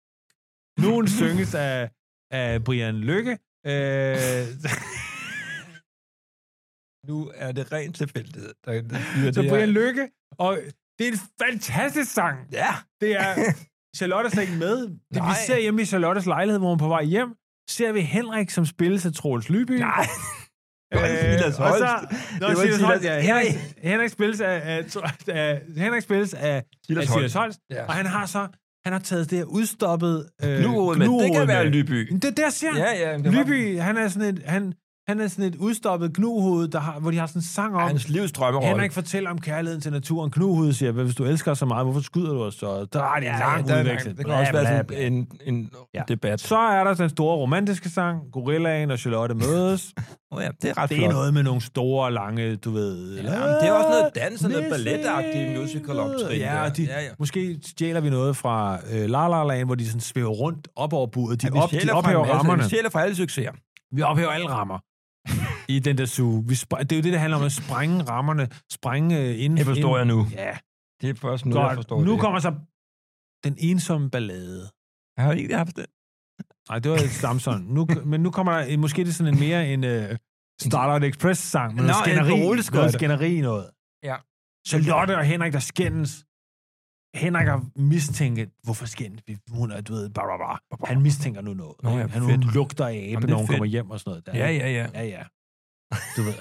Gnuen synges af, af Brian Lykke. Øh,
Nu er det rent tilfældighed. Der, der,
så Brian Lykke, og det er en fantastisk sang.
Ja,
Det er, Charlotte er slet ikke med. Det, vi
Nej.
ser hjemme i Charlottes lejlighed, hvor hun er på vej hjem, ser vi Henrik, som spilles af Troels Lyby. Øh,
nej. Det var en Silas
og
Holst.
så, Nå,
var en
Silas
Silas-
Holst, ja. Henrik,
Henrik.
Henrik spilles af, af, Tro- af, Henrik spilles af,
Silas
af Silas
Holst.
Holst,
Ja.
og han har så han har taget det her udstoppet øh,
Gnuhoved med. Det kan
gnuhoved
være
med.
Lyby.
Men Det der ser
Ja,
ja,
ja. men det var-
Lyby, han er sådan et, han, han er sådan et udstoppet knuhoved, der har, hvor de har sådan en sang om,
Hans livs drømmerolle.
Henrik fortæller om kærligheden til naturen. Knuhoved siger, "Hvad, hvis du elsker os så meget, hvorfor skyder du os så? Der er det en lang
der er-
udveksling.
Det kan
Bla,
også være
bla,
sådan
bla.
en, en
Ja.
ja. debat.
øh, Så er der den store romantiske sang, Gorillaen og Charlotte mødes.
Oh, ja, det er ret
Det er
flot.
noget med nogle store, lange, du ved...
Ja, men det er også noget dans og noget balletagtigt musical-optrin
Ja,
der.
og de, ja,
Ja,
ja.
ja.
måske stjæler vi noget fra øh, La La Land, hvor de sådan svæver rundt op over budet. De,
Vi
op, de
stjæler fra
ophæver
en masse-
rammerne.
Vi sjæler fra alle succeser.
Vi ophæver alle rammer i den der suge. Vi spr- det er jo det, det handler om at sprænge rammerne, sprænge øh, inden...
jeg nu.
Ja,
Det er først nu,
godt.
jeg forstår
nu
det.
kommer så den ensomme ballade.
Jeg har ikke haft det.
Nej, det var Samson. Nu, men nu kommer der en- måske det er sådan en mere en uh, Starlight Express-sang. Med
Nå,
noget
en
skænderi,
beroligskudt.
noget skænderi noget.
Ja.
Charlotte og Henrik, der skændes. Henrik har mistænkt, hvorfor skændes vi? Hun er, du ved, bla, bla, bla. Han mistænker nu noget.
Nå, ja,
han
fedt.
hun lugter af abe,
Jamen, det er
når hun
fedt.
kommer hjem og sådan noget. Der.
Ja, ja, ja.
Ja, ja. Du ved.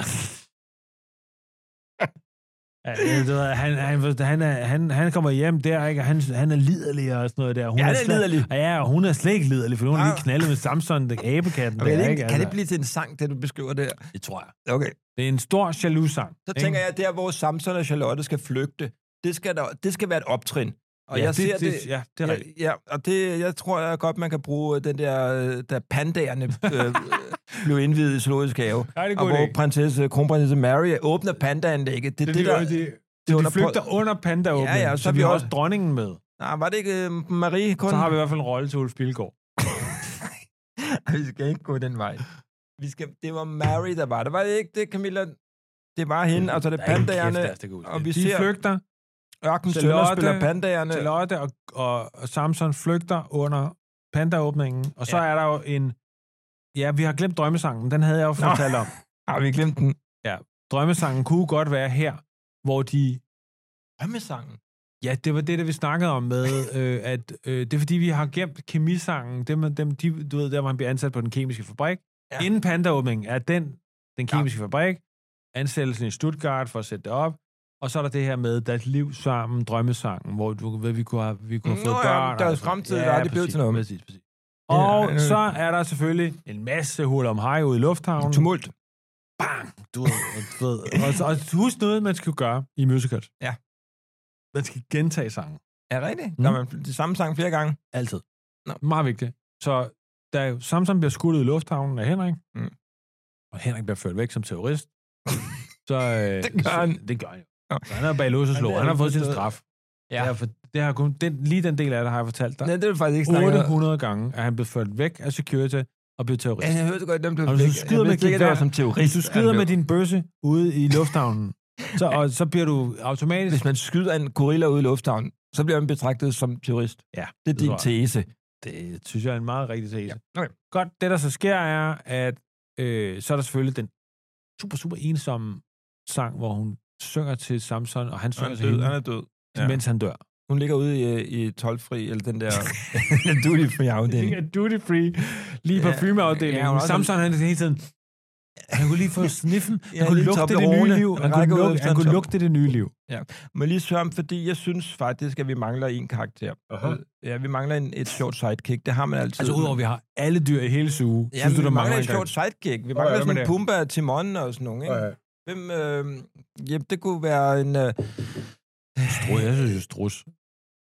Ja, det- det ved jeg, han, han, han, er, han, han kommer hjem der, ikke? og han, han er liderlig og sådan noget der. Hun
Ja, det er
slet-
liderlig.
Ja, Ja, og hun er slet ikke liderlig, for hun har
Nej.
lige knaldet med Samson, den abekatten.
Okay,
der,
det ikke,
ikke?
kan det blive til en sang, det du beskriver der?
det tror jeg.
Okay.
Det er en stor jaloux-sang.
Så tænker jeg, der hvor Samson og Charlotte skal flygte, det skal, der, det skal være et optrin. Og jeg ser det,
Ja, det er rigtigt.
Ja, ja, og det, jeg tror jeg godt, man kan bruge den der, øh, da pandagerne øh, blev indvidet i zoologisk have.
Ja, det er en
og
god
hvor
idé.
prinsesse, kronprinsesse Mary åbner pandaanlægget. Det,
Det,
det,
det,
det, der,
de,
det er
de
under-
flygter under pandaåbningen,
Ja, ja, og så
så,
er
vi
vi
har
også-
også dronningen med.
Nej, var det ikke øh, Marie kun?
Så har vi i hvert fald en rolle til Ulf Pilgaard.
vi skal ikke gå den vej. Vi skal, det var Mary, der var. Det var ikke det, Camilla. Det var hende, altså det er pandagerne.
og
og
vi
vi
de
ser-
flygter,
Ørken Sønder
Charlotte-
spiller pandagerne.
Charlotte og, og, og Samson flygter under pandaåbningen, og så
Ja.
er der jo en... Ja, vi har glemt drømmesangen, den havde jeg jo
Nå.
fortalt om.
Har vi glemt den?
Drømmesangen kunne godt være her, hvor de...
Drømmesangen.
Ja, det var det, der vi snakkede om med, øh, at øh, det er fordi, vi har gemt kemisangen, dem, dem, de, du ved, der hvor han bliver ansat på den kemiske fabrik.
Ja.
Ja. Inden pandaåbningen er den, den kemiske ja. fabrik, ansættelsen i Stuttgart for at sætte det op, og så er der det her med, deres liv sammen, drømmesangen, hvor du ved, vi kunne have, vi kunne have
Nå
fået
ja,
børn. og
deres
sådan noget.
fremtid, der er det blevet
præcis,
til noget.
Præcis, præcis.
Ja,
Og
øh.
så er der selvfølgelig en masse hul om hej ude i lufthavnen.
Tumult.
Bang! Du ved, og, du ved, og, og husk noget, man skal gøre i musicals.
Ja.
Man skal gentage sangen.
Er det rigtigt?
Mm.
Mm. Gør man det samme sang flere gange?
Altid.
Nå.
Meget vigtigt. Så da Samson bliver skudt ud i lufthavnen af Henrik,
Mm.
og Henrik bliver ført væk som terrorist, så... Øh,
Det gør han.
Så, det gør han jo.
Nå.
Så han er bag lås og
Han
slå.
er
Han har fået sin
forstået.
straf.
Ja.
Det har, for, det har kun, den, lige den del af det har jeg fortalt dig.
Nej, det er faktisk ikke snakket om.
800 gange er han blevet ført væk af security og blevet terrorist.
Ja, jeg hørte godt, den blev
Og hvis du
væk.
skyder
Jeg
med
vidste ikke, at det var
gevær-
som
Hvis
terrorist.
du
han
skyder
blev.
med din bøsse ude i lufthavnen, så, og, så bliver du automatisk...
Hvis man skyder en gorilla ud i lufthavnen, så bliver man betragtet som terrorist.
Ja,
Det er
det
din
tror
tese.
Det synes jeg er en meget rigtig tese.
Ja, okay.
Godt, det der så sker er, at øh, så er der selvfølgelig den super, super ensomme sang, hvor hun synger til Samson, og han synger til hende,
er død.
ja. mens han dør.
Altså, Hun ligger ude i, øh, i tolvfri, eller den der duty free afdeling.
Det er duty free, lige
Ja.
parfumeafdelingen.
Ja,
Ja,
hun er også-
Samson, han er hele tiden... Han kunne lige få sniffen. Han
Ja,
kunne
lige
lugte det nye
Toblerone.
liv. Han
Han
kunne,
rækker ud
lugte,
efter
han
en
kunne
Toblerone.
lugte det nye liv.
Må jeg lige spørge om, fordi jeg synes faktisk, at vi mangler en karakter.
Aha.
Øh, Ja, vi mangler en, et sjovt sidekick. Det har man altid.
Altså udover, at vi har alle dyr i hele suge.
Ja,
synes du,
vi
der mangler en
et sjovt
karakter?
sidekick. Vi
Åh,
mangler
ja,
sådan
men det-
Pumba, Timon og sådan nogen, ikke?
Ja, ja.
Hvem, øh, ja, det kunne være en... Øh,
Strus, jeg synes, jo, strus.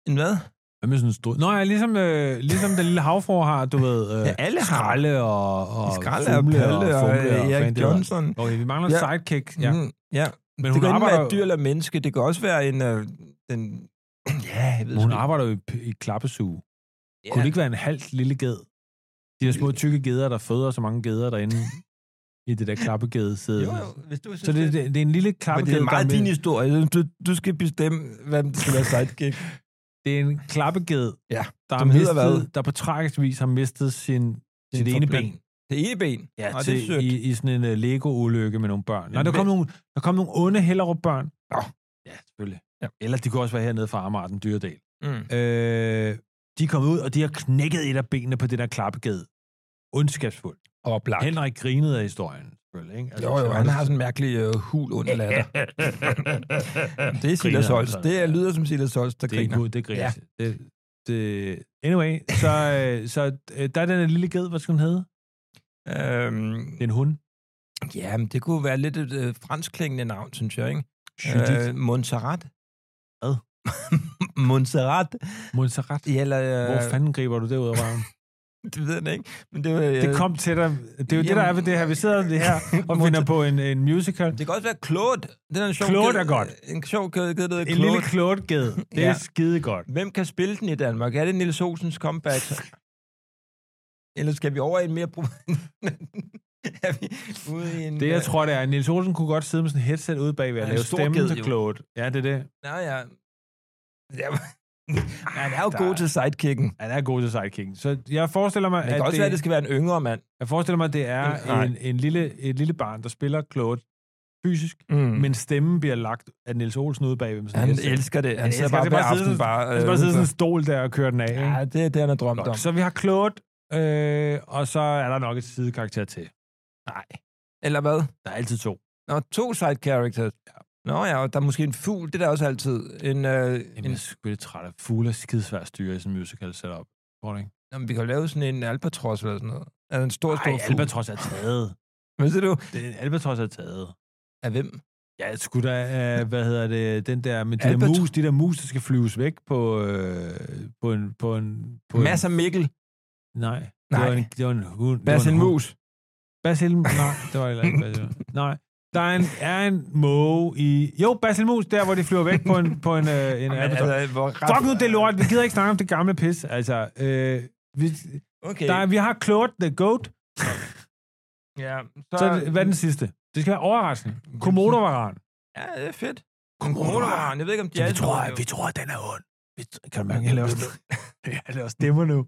en hvad?
Hvad med sådan en stor... Nå ja, ligesom, øh, ligesom den lille havfru har, du ved... Øh,
Ja, alle har.
Skralde og, og
Skralde og
Fumle
Palle og, og,
Fumle
og
fanden,
Erik
det hedder.
Johnson.
Okay, vi mangler ja.
Ja.
sidekick. Ja.
Ja. Mm, ja.
Men
Det
hun
kan enten
arbejder,
være et dyr eller et menneske. Det kan også være en... Øh, en ja, jeg ved
jo, hun
sgu
arbejder jo i, p- i klappesuge.
ikke.
Ja. Kunne det
ja. Mm.
ikke være en halvt lille ged? De der små tykke geder, der føder så mange geder derinde i det der klappegedesæde.
Jo, jo, hvis du synes,
Så det,
det,
det, det, er en lille
men
klappeged,
det er meget
der
din
med,
historie. Du, du skal bestemme, hvem der skal være sidekick.
det er en klappeged,
Ja,
der, har
som hedder
mistet,
hvad?
der på tragisk vis har mistet sin, sit ene ben.
Det ene ben.
Ja,
Nå, det er
til,
sødt.
i, i sådan en uh, Lego-ulykke med nogle børn. Nej,
Men
der kom
hvem-
nogle, der kom nogle onde Hellerup-børn.
Nå.
Ja, selvfølgelig.
Ja.
Eller de kunne også være hernede fra Amager, den dyredel.
Mm.
Øh, de er kommet ud, og de har knækket et af benene på det der klappegade. Ondskabsfuldt.
Oplagt.
Henrik grinede af historien, selvfølgelig. Ikke? Altså,
Jo, jo, han har sådan en mærkelig øh, hul under latter. Det er
Griner
Silas
han
Holst.
sådan.
Det er, lyder som Silas Holst, der
det er
griner.
godt, det griner. Ja. Det, det, anyway, så, øh, så øh, der er den her lille ged, hvad skal den hedde? Det
Øhm,
er en hund.
ja, men det kunne være lidt et øh, franskklingende navn, synes jeg, ikke?
Judith.
Øh, Montserrat.
Hvad?
Montserrat.
Montserrat.
Ja, Eller, øh,
Hvor fanden griber du det ud af røven?
Det ved jeg ikke. Men det, var, øh,
Det kom til dig. Det er jo det, der er ved det her. Vi sidder det her og finder på en, en musical.
det kan også være Claude. Det er en sjov
Claude
kæde-
er godt.
En sjov kæde, kæde, der hedder
En
Claude.
lille klodged. Det er
Ja.
skide godt.
Hvem kan spille den i Danmark? Er det Nils Olsens comeback? Eller skal vi over i en mere... pro- er vi ude i en... øh,
Det, jeg tror, det er, Nils Olsen kunne godt sidde med sådan et headset ude bagved og
Han er
lave
stor
stemmen
ged,
til
jo.
Claude. Ja, det er det.
Nå ja. ja. Han er jo
Ah, Der-
god til sidekicken.
Han er god til sidekicken. Så jeg forestiller mig,
Men det kan
at
også
det,
være, at det skal være en yngre mand.
jeg forestiller mig, at det er
Nej.
en, en lille, et lille barn, der spiller Claude fysisk,
Mm.
men stemmen bliver lagt af Nils Olsen ude bagved med sådan
han
et headset.
elsker det.
Han
Han sidder
elsker
bare
det.
på
Bare sidde
aften
sådan-
Øh, bare...
Han skal bare sidde i sådan en stol der og køre den af.
Ja,
Ikke?
det er det, han har drømt om.
Godt. Så vi har Claude, øh, og så er der nok et sidekarakter til.
Nej. Eller hvad?
Der er altid to.
Nå, to side characters. Nå ja, og der er måske en fugl, det er der også altid. En, øh,
Jamen,
en,
jeg er sgu lidt træt af fugle og skidesvær styre i sådan en musical setup. Tror du ikke?
Nå, men vi kan jo lave sådan en albatros eller sådan noget. Altså en stor, stor
Ej,
fugl.
Albatros er taget.
Hvad siger du?
Den, Albatros er taget.
Af hvem?
Ja, sgu da, øh, hvad hedder det, den der, med de der
Albatros-
mus, de der mus, der skal flyves væk på, øh, på en, på en, på
Mads og Mikkel.
en, nej, det
Nej.
var en, det var en hund. det
Bas
var
en
hund.
mus.
Basil, nej, det var heller ikke Basil. Nej, der er en, er en måge i, jo, Basil Mus, der hvor de flyver væk på en, på en, øh, en
Jamen, altså,
Albatros.
hvor ret-
Fuck nu, det er lort, vi gider ikke snakke om det gamle pis, altså, øh, vi,
Okay.
der, er- vi har Claude the Goat,
ja,
Så er det- hvad er den sidste? Det skal være overraskende. Komodovaran.
Ja, det er fedt. En komodovaran. Jeg ved ikke, om de er...
tror, at den er ond. Vi t- kan du mærke,
Okay.
jeg laver, st- jeg laver stemmer nu.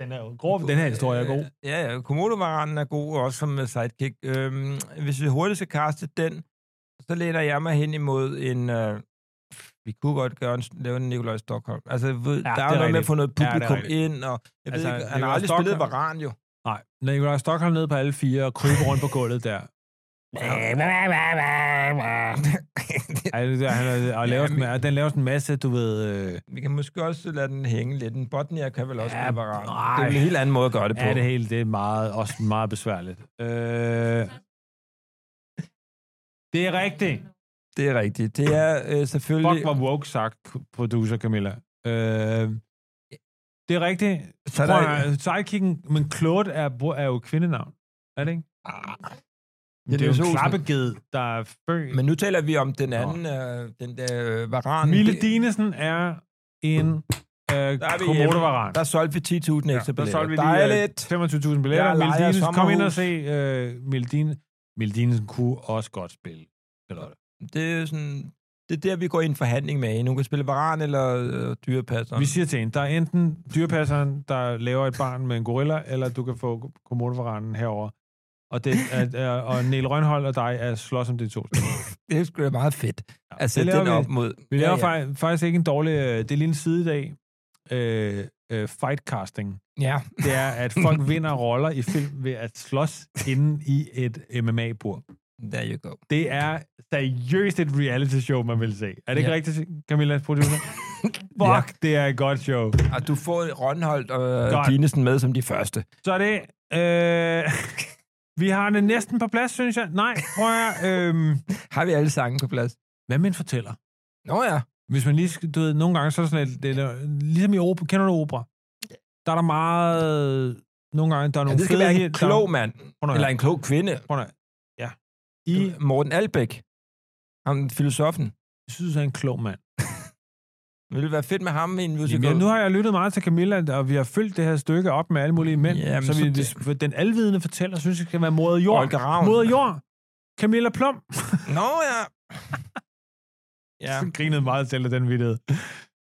Den er jo grov. Den her historie er god.
Øh, Ja, ja. Komodo-varanen er god, også som øh, sidekick. Øhm, hvis vi hurtigt skal kaste den, så læner jeg mig hen imod en... Øh, vi kunne godt gøre en, lave en Nikolaj Stockholm. Altså, ved, ja, der
det
er
er
jo noget med at
rigtigt.
få noget
Ja, det er
publikum ja,
rigtigt.
ind, og jeg
Altså,
altså, ved ikke, han har
Nikolaj
aldrig spillet
Stockholm-
varan jo.
Nej, når jeg går Stockholm ned på alle fire og kryber rundt på gulvet der. Ej, det der, han er, og laver sådan, og den laver sådan en masse, du ved... Øh,
vi kan måske også lade den hænge lidt. En botnier kan vel også
Ja,
ja, spille varan.
nej.
Det er vel en helt anden måde at gøre det på.
er det hele, det er meget, også meget besværligt. Øh, det er rigtigt.
det er rigtigt. Det er øh, selvfølgelig...
Fuck, hvor woke sagt, producer Camilla. Øh, det er rigtigt.
Så
Så
er der-
der... Sidekicken, men Claude er, bro- er jo kvindenavn. Er det ikke?
Ah.
Men det, det er
Niels
jo en
Olsen.
klappeged, der er født.
Men nu taler vi om den anden, øh, den der øh, varan.
Mille
Det-
Dinesen er en øh,
Der er vi
komodovaran.
Der solgte vi 10.000 ekstra
der
billetter.
solgte vi
Dejligt.
lige øh, 25.000 billetter.
Jeg
Mille
lejer
Dinesen, kom ind og se
sommerhus.
øh, Mille Dinesen. Mille Dinesen kunne også godt spille. Charlotte.
Det er sådan... Det er der, vi går i en forhandling med hende. Hun kan spille varan eller øh, dyrepasser.
Vi siger til hende, der er enten dyrpasseren, der laver et barn med en gorilla, eller du kan få komodovaranen herover. Og, det, at, øh, og Niel Rønhold og dig er slås om de to. stykker.
Det er sgu da meget fedt.
Ja,
Altså,
det
det
laver
den
vi.
op mod...
Vi laver ja, ja. faktisk ikke en dårlig... øh, Det er lige en side i dag. Øh, øh, fightcasting.
Ja,
Det er, at folk vinder roller i film ved at slås inden i et MMA-bord.
there you go.
Det er seriøst et reality show, man vil se. Er det ikke
Ja.
ja. rigtigt, Camilla, producer? Fuck, ja. det er et godt show.
Og du får Rønholdt og
Godt.
Dinesen med som de første.
Så er det... Øh, vi har det næsten på plads, synes jeg. Nej, prøv at... Øh,
Har vi alle sange på plads?
hvad med en fortæller?
Nå ja.
Hvis man lige skal, du ved, nogle gange, så er det sådan, lidt, det er, ligesom i opera, kender du opera? Der er der meget, nogle gange, der er
ja
nogle
det skal
fede
være en
hit,
klog
der,
mand.
nu her.
Eller en klog kvinde.
Prøv at- ja. I,
I Morten Albæk. Ham, filosofen.
jeg synes, jeg er en klog mand.
Vil det være fedt med ham i en musical?
Jamen, nu har jeg lyttet meget til Camilla, og vi har fyldt det her stykke op med alle mulige mænd,
Jamen,
Jamen, så,
så
vi,
det-
det. den alvidende fortæller, synes jeg, skal være moder jord.
Olga Ravn.
Moder jord. Camilla Plum.
Nå ja. ja.
Ja. grinede meget selv af den vidtighed.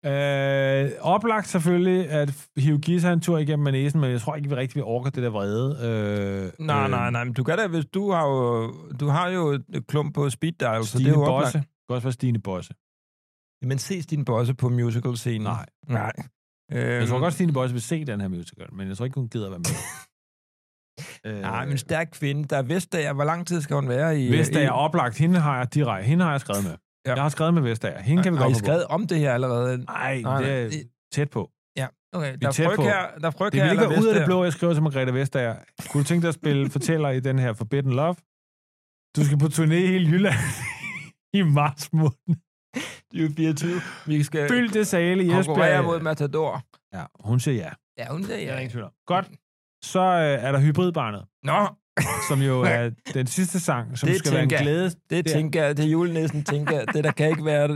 Øh, oplagt selvfølgelig at hive Gisa en tur igennem næsen, men jeg tror ikke, vi rigtig vil orke det der vrede. Øh,
Nej,
øh,
nej, nej, men du kan da, hvis du har jo, du har jo et klump på speed dial, så det
Stine
er jo
Bosse.
oplagt.
Det kan også være Stine Bosse.
Men ses din bosse på musical-scenen?
Nej.
Nej. Øhm,
Jeg tror godt, Stine Bosse vil se den her musical, men jeg tror ikke, hun gider være med. øh,
Nej, men en stærk kvinde. Der er Vestager. Hvor lang tid skal hun være i...
Vestager
i,
oplagt. Hende har jeg direkte. Hende har jeg skrevet med.
Ja.
Ja. Jeg har skrevet med Vestager. Hende kan vi
Har
godt
I
få på.
skrevet om det her allerede?
Nej,
Nej,
det
nej, det-
er tæt på.
Ja, okay.
Vi
Der
er
er
tæt
fryg
på.
her. Der er fryg
Det
her
vil ikke
eller
være ud af det
Vestager?
blå, jeg skriver til Margrethe Vestager. Kunne du tænke dig at spille fortæller i den her Forbidden Love? Du skal på turné i hele Jylland i marts måned.
Det er jo 24. Vi skal
Fyld det sale i
konkurrere
Esbjerg.
mod Matador.
Ja, hun siger ja.
Ja, hun der,
Det er der
ja.
ingen tvivl om. Godt. Så øh, er der Hybridbarnet,
Nå,
som jo er den sidste sang, som
Det
det skal være en
tænker jeg.
glæde.
det
Der.
tænker jeg. Det er julenissen, tænker jeg. Det der kan ikke være...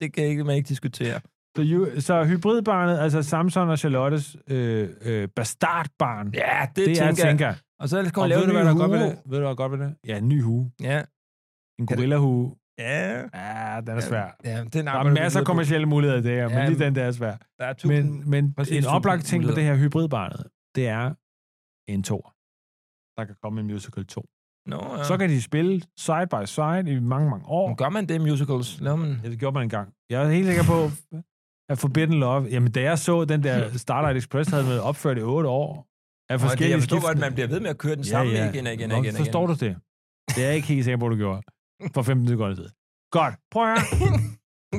Det kan ikke, man ikke diskutere.
Så, ju- så Hybridbarnet, altså Samson og Charlottes øh, øh, bastardbarn, det,
Ja, det,
det er
tænker jeg.
tænker.
Og så skal
Og
hun lave
ved
en
du, hvad
ny
der er godt ved
humor.
det? Ved du, hvad der er godt ved det? Ja, en ny hue.
Ja.
En gorillahue.
Ja.
Ja, den er svær.
Ja, den
Der er masser af kommersielle muligheder i det her, men
Ja,
lige den der er svær.
Der er tusind...
Men, men
præcis,
en
tusind
oplagt ting på det
muligheder.
her hybridbarnet, det er en tor. Der kan komme en musical 2.
Nå, ja.
Ja. Så kan de spille side by side i mange, mange år.
Men gør man det i musicals? Laver man...
Ja, det gjorde man engang. Jeg er helt sikker på, at Forbidden Love, jamen da jeg så den der Starlight Express, havde man opført i otte år af
Og det,
forskellige
jeg forstår godt,
skiftende-
at man bliver ved med at køre den samme igen og igen og
Nå,
igen. og
Forstår
igen.
du det? Det er jeg ikke helt sikker på, du gjorde. for 15 sekunder siden. Godt, prøv at høre.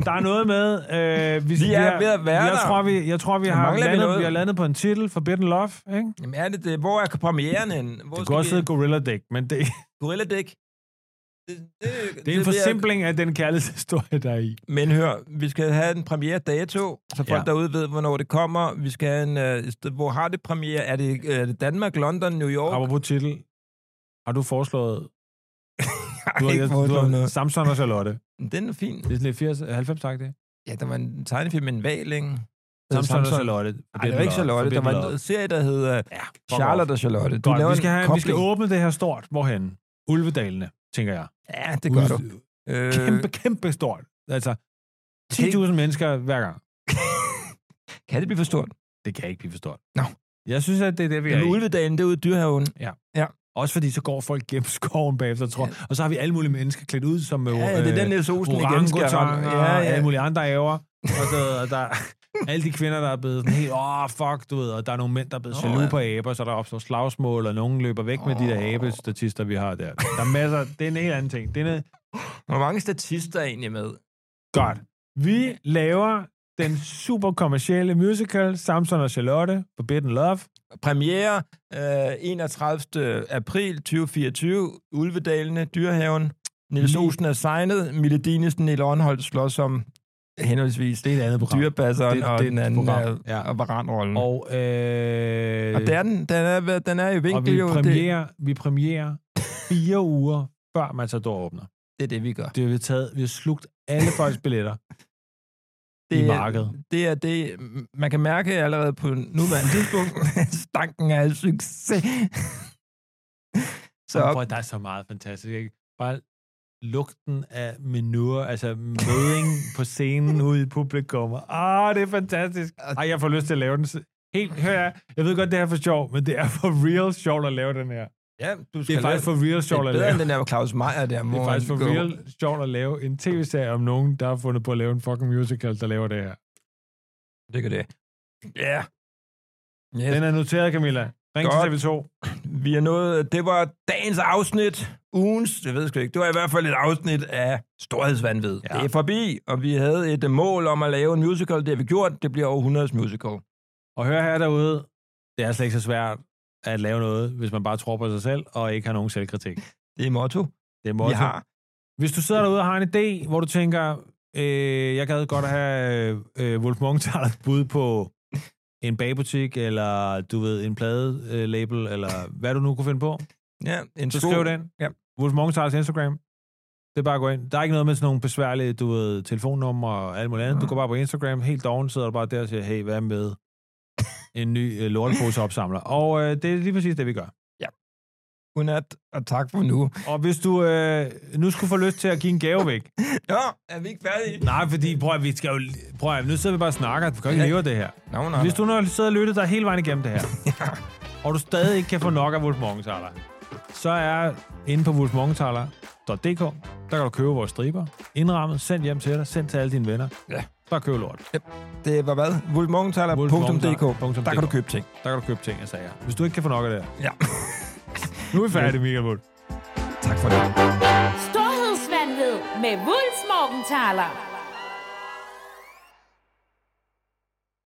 Der er noget med... Øh, vi,
Vi er ved at være
jeg
der.
Tror, vi, jeg tror, vi
Der
har,
mangler vi
landet, vi,
noget.
har landet på en titel, Forbidden Love, ikke?
Jamen er det det? Hvor er premieren henne? Hvor
Det
skal
kunne også
vi-
hedde Gorilla Dick, men det,
Gorilla Dick. Det, det,
det er en forsimpling af den kærlighedshistorie, der er i.
Men hør, vi skal have en premiere dato, så folk
Ja.
ja. derude ved, hvornår det kommer. Vi skal have en... Øh, et sted- hvor har det premiere? Er det, øh, er det Danmark, London, New York?
Apropos titel, har du foreslået...
Jeg
Du
har
har,
ikke
jeg, du
foreslået
har
noget.
Samson og Charlotte.
Den er fin.
Det er sådan lidt 80, 90 sagt det.
Ja, der var en tegnefilm med en val, ikke?
Samson og Charlotte.
Nej, det var ikke Charlotte. Der
Forbidden
var
Love.
en serie, der hed øh,
Ja, fuck
Charlotte
off.
og Charlotte. Du laver
Godt, vi
en
skal, have, vi skal
kobling.
åbne det her stort. Hvorhen? Ulvedalene, tænker jeg.
Ja, det gør du. Øh,
Kæmpe, kæmpe stort. Altså, 10.000 mennesker hver gang.
Kan det blive for stort?
Det kan ikke blive for stort.
Nå.
Jeg synes, at det er det, vi
Ja,
er
men
i.
Ulvedalen, det er ude i dyrehaven.
Også fordi, så går folk gennem skoven bagefter, tror jeg. Og så har vi alle mulige mennesker klædt ud som øh,
Ja, ja, det er den Niels Olsen igen skal ramme.
orangutanger
Ja, ja.
alle mulige andre æver. Og, så, og der, alle de kvinder, der er blevet sådan helt, åh, oh, fuck, du ved, og der er nogle mænd, der er blevet
Nå,
jaloux
ja.
på æber, så der opstår slagsmål, og nogen løber væk med de der
Åh.
æbestatister, vi har der. Der er masser, det er en helt anden ting. Det er noget,
Hvor mange statister er egentlig med?
Godt. Vi laver den super kommercielle musical Samson og Charlotte Forbidden Love.
Premiere øh, 31. april 2024. Ulvedalene, dyrehaven. Niels
Lige-
Olsen er signet. Mille Dinesen, Niel Åndholt slår som henholdsvis
Det er et andet program.
dyrebasseren
Det-
og
det er
den
et
anden
program,
er,
ja.
ja. og varanrollen. Og,
Og, øh,
og det er den, den er, hvad- den er i
og
vinkel
vi,
jo. Det,
premierer, vi premierer fire uger før Matador åbner.
det er det, vi gør.
Det har vi taget, vi har slugt alle folks billetter.
det,
i
er-
markedet.
Det er det, man kan mærke allerede på nuværende tidspunkt, at stanken af succes. Så
Jamen,
op,
Prøv, at, der er så meget fantastisk. Ikke? Bare lugten af menuer, altså møding på scenen ude i publikum. Ah, det er fantastisk. Ej, jeg får lyst til at lave den. s- Helt, hør jeg, jeg ved godt, det er for sjov, men det er for real sjovt at lave den her.
ja, du
Det er faktisk for real
det er
sjovt at
bedre
lave.
end den der Claus Meier der.
Det er faktisk for real sjovt at lave en tv-serie om nogen, der har fundet på at lave en fucking musical, der laver det her.
Det kan det. Ja. Yes.
Den er noteret, Camilla. Ring til
Godt.
TV2.
Vi er nået, det var dagens afsnit, ugens, jeg ved sgu ikke, det var i hvert fald et afsnit af Storhedsvandvid.
Ja.
Ja. Det er forbi, og vi havde et øh, mål om at lave en musical, det har vi gjort, det bliver århundredes musical.
Og hør her derude, det er slet ikke så svært at lave noget, hvis man bare tror på sig selv og ikke har nogen selvkritik.
Det er motto,
Det er
vi
motto.
har.
Hvis du sidder derude og har en idé, hvor du tænker, øh, jeg gad godt at have øh, øh, Wolf Morgenthalers bud på en bagbutik, eller du ved, en pladelabel, eller hvad du nu kunne finde på,
Ja, en
så
sko-
skriv den.
Ja.
Wolf Morgenthalers Instagram. Det er bare at gå ind. Der er ikke noget med sådan nogle besværlige, du ved, telefonnumre og alt muligt andet. Du går bare på Instagram, helt doven sidder du bare der og siger, hey, hvad med en ny øh, lortepose opsamler? Og øh, det er lige præcis det, vi gør.
Godnat, og tak for nu.
Og hvis du øh, nu skulle få lyst til at give en gave væk,
Nå, er vi ikke færdige?
Nej, fordi prøv at, vi skal jo... Prøv at, nu sidder vi bare og snakker. Vi kan jo ikke
Ja.
leve af det her.
Nå, nå, nå.
Hvis du nu sidder og lytter dig hele vejen igennem det her,
Ja.
og du stadig ikke kan få nok af Wolf Morgenthaler, så er inde på wolfmorgenthaler.dk, der kan du købe vores striber, indrammet, sendt hjem til dig, sendt til alle dine venner.
Ja.
Bare køb lort.
Det var hvad? Vulmongtaler.dk. Der kan du købe ting.
Der kan du købe ting, jeg sagde. Hvis du ikke kan få nok af det her.
Ja.
Nu er vi færdige, Michael Wood.
tak for det.
Storhedsvandved med Wulfs Morgenthaler.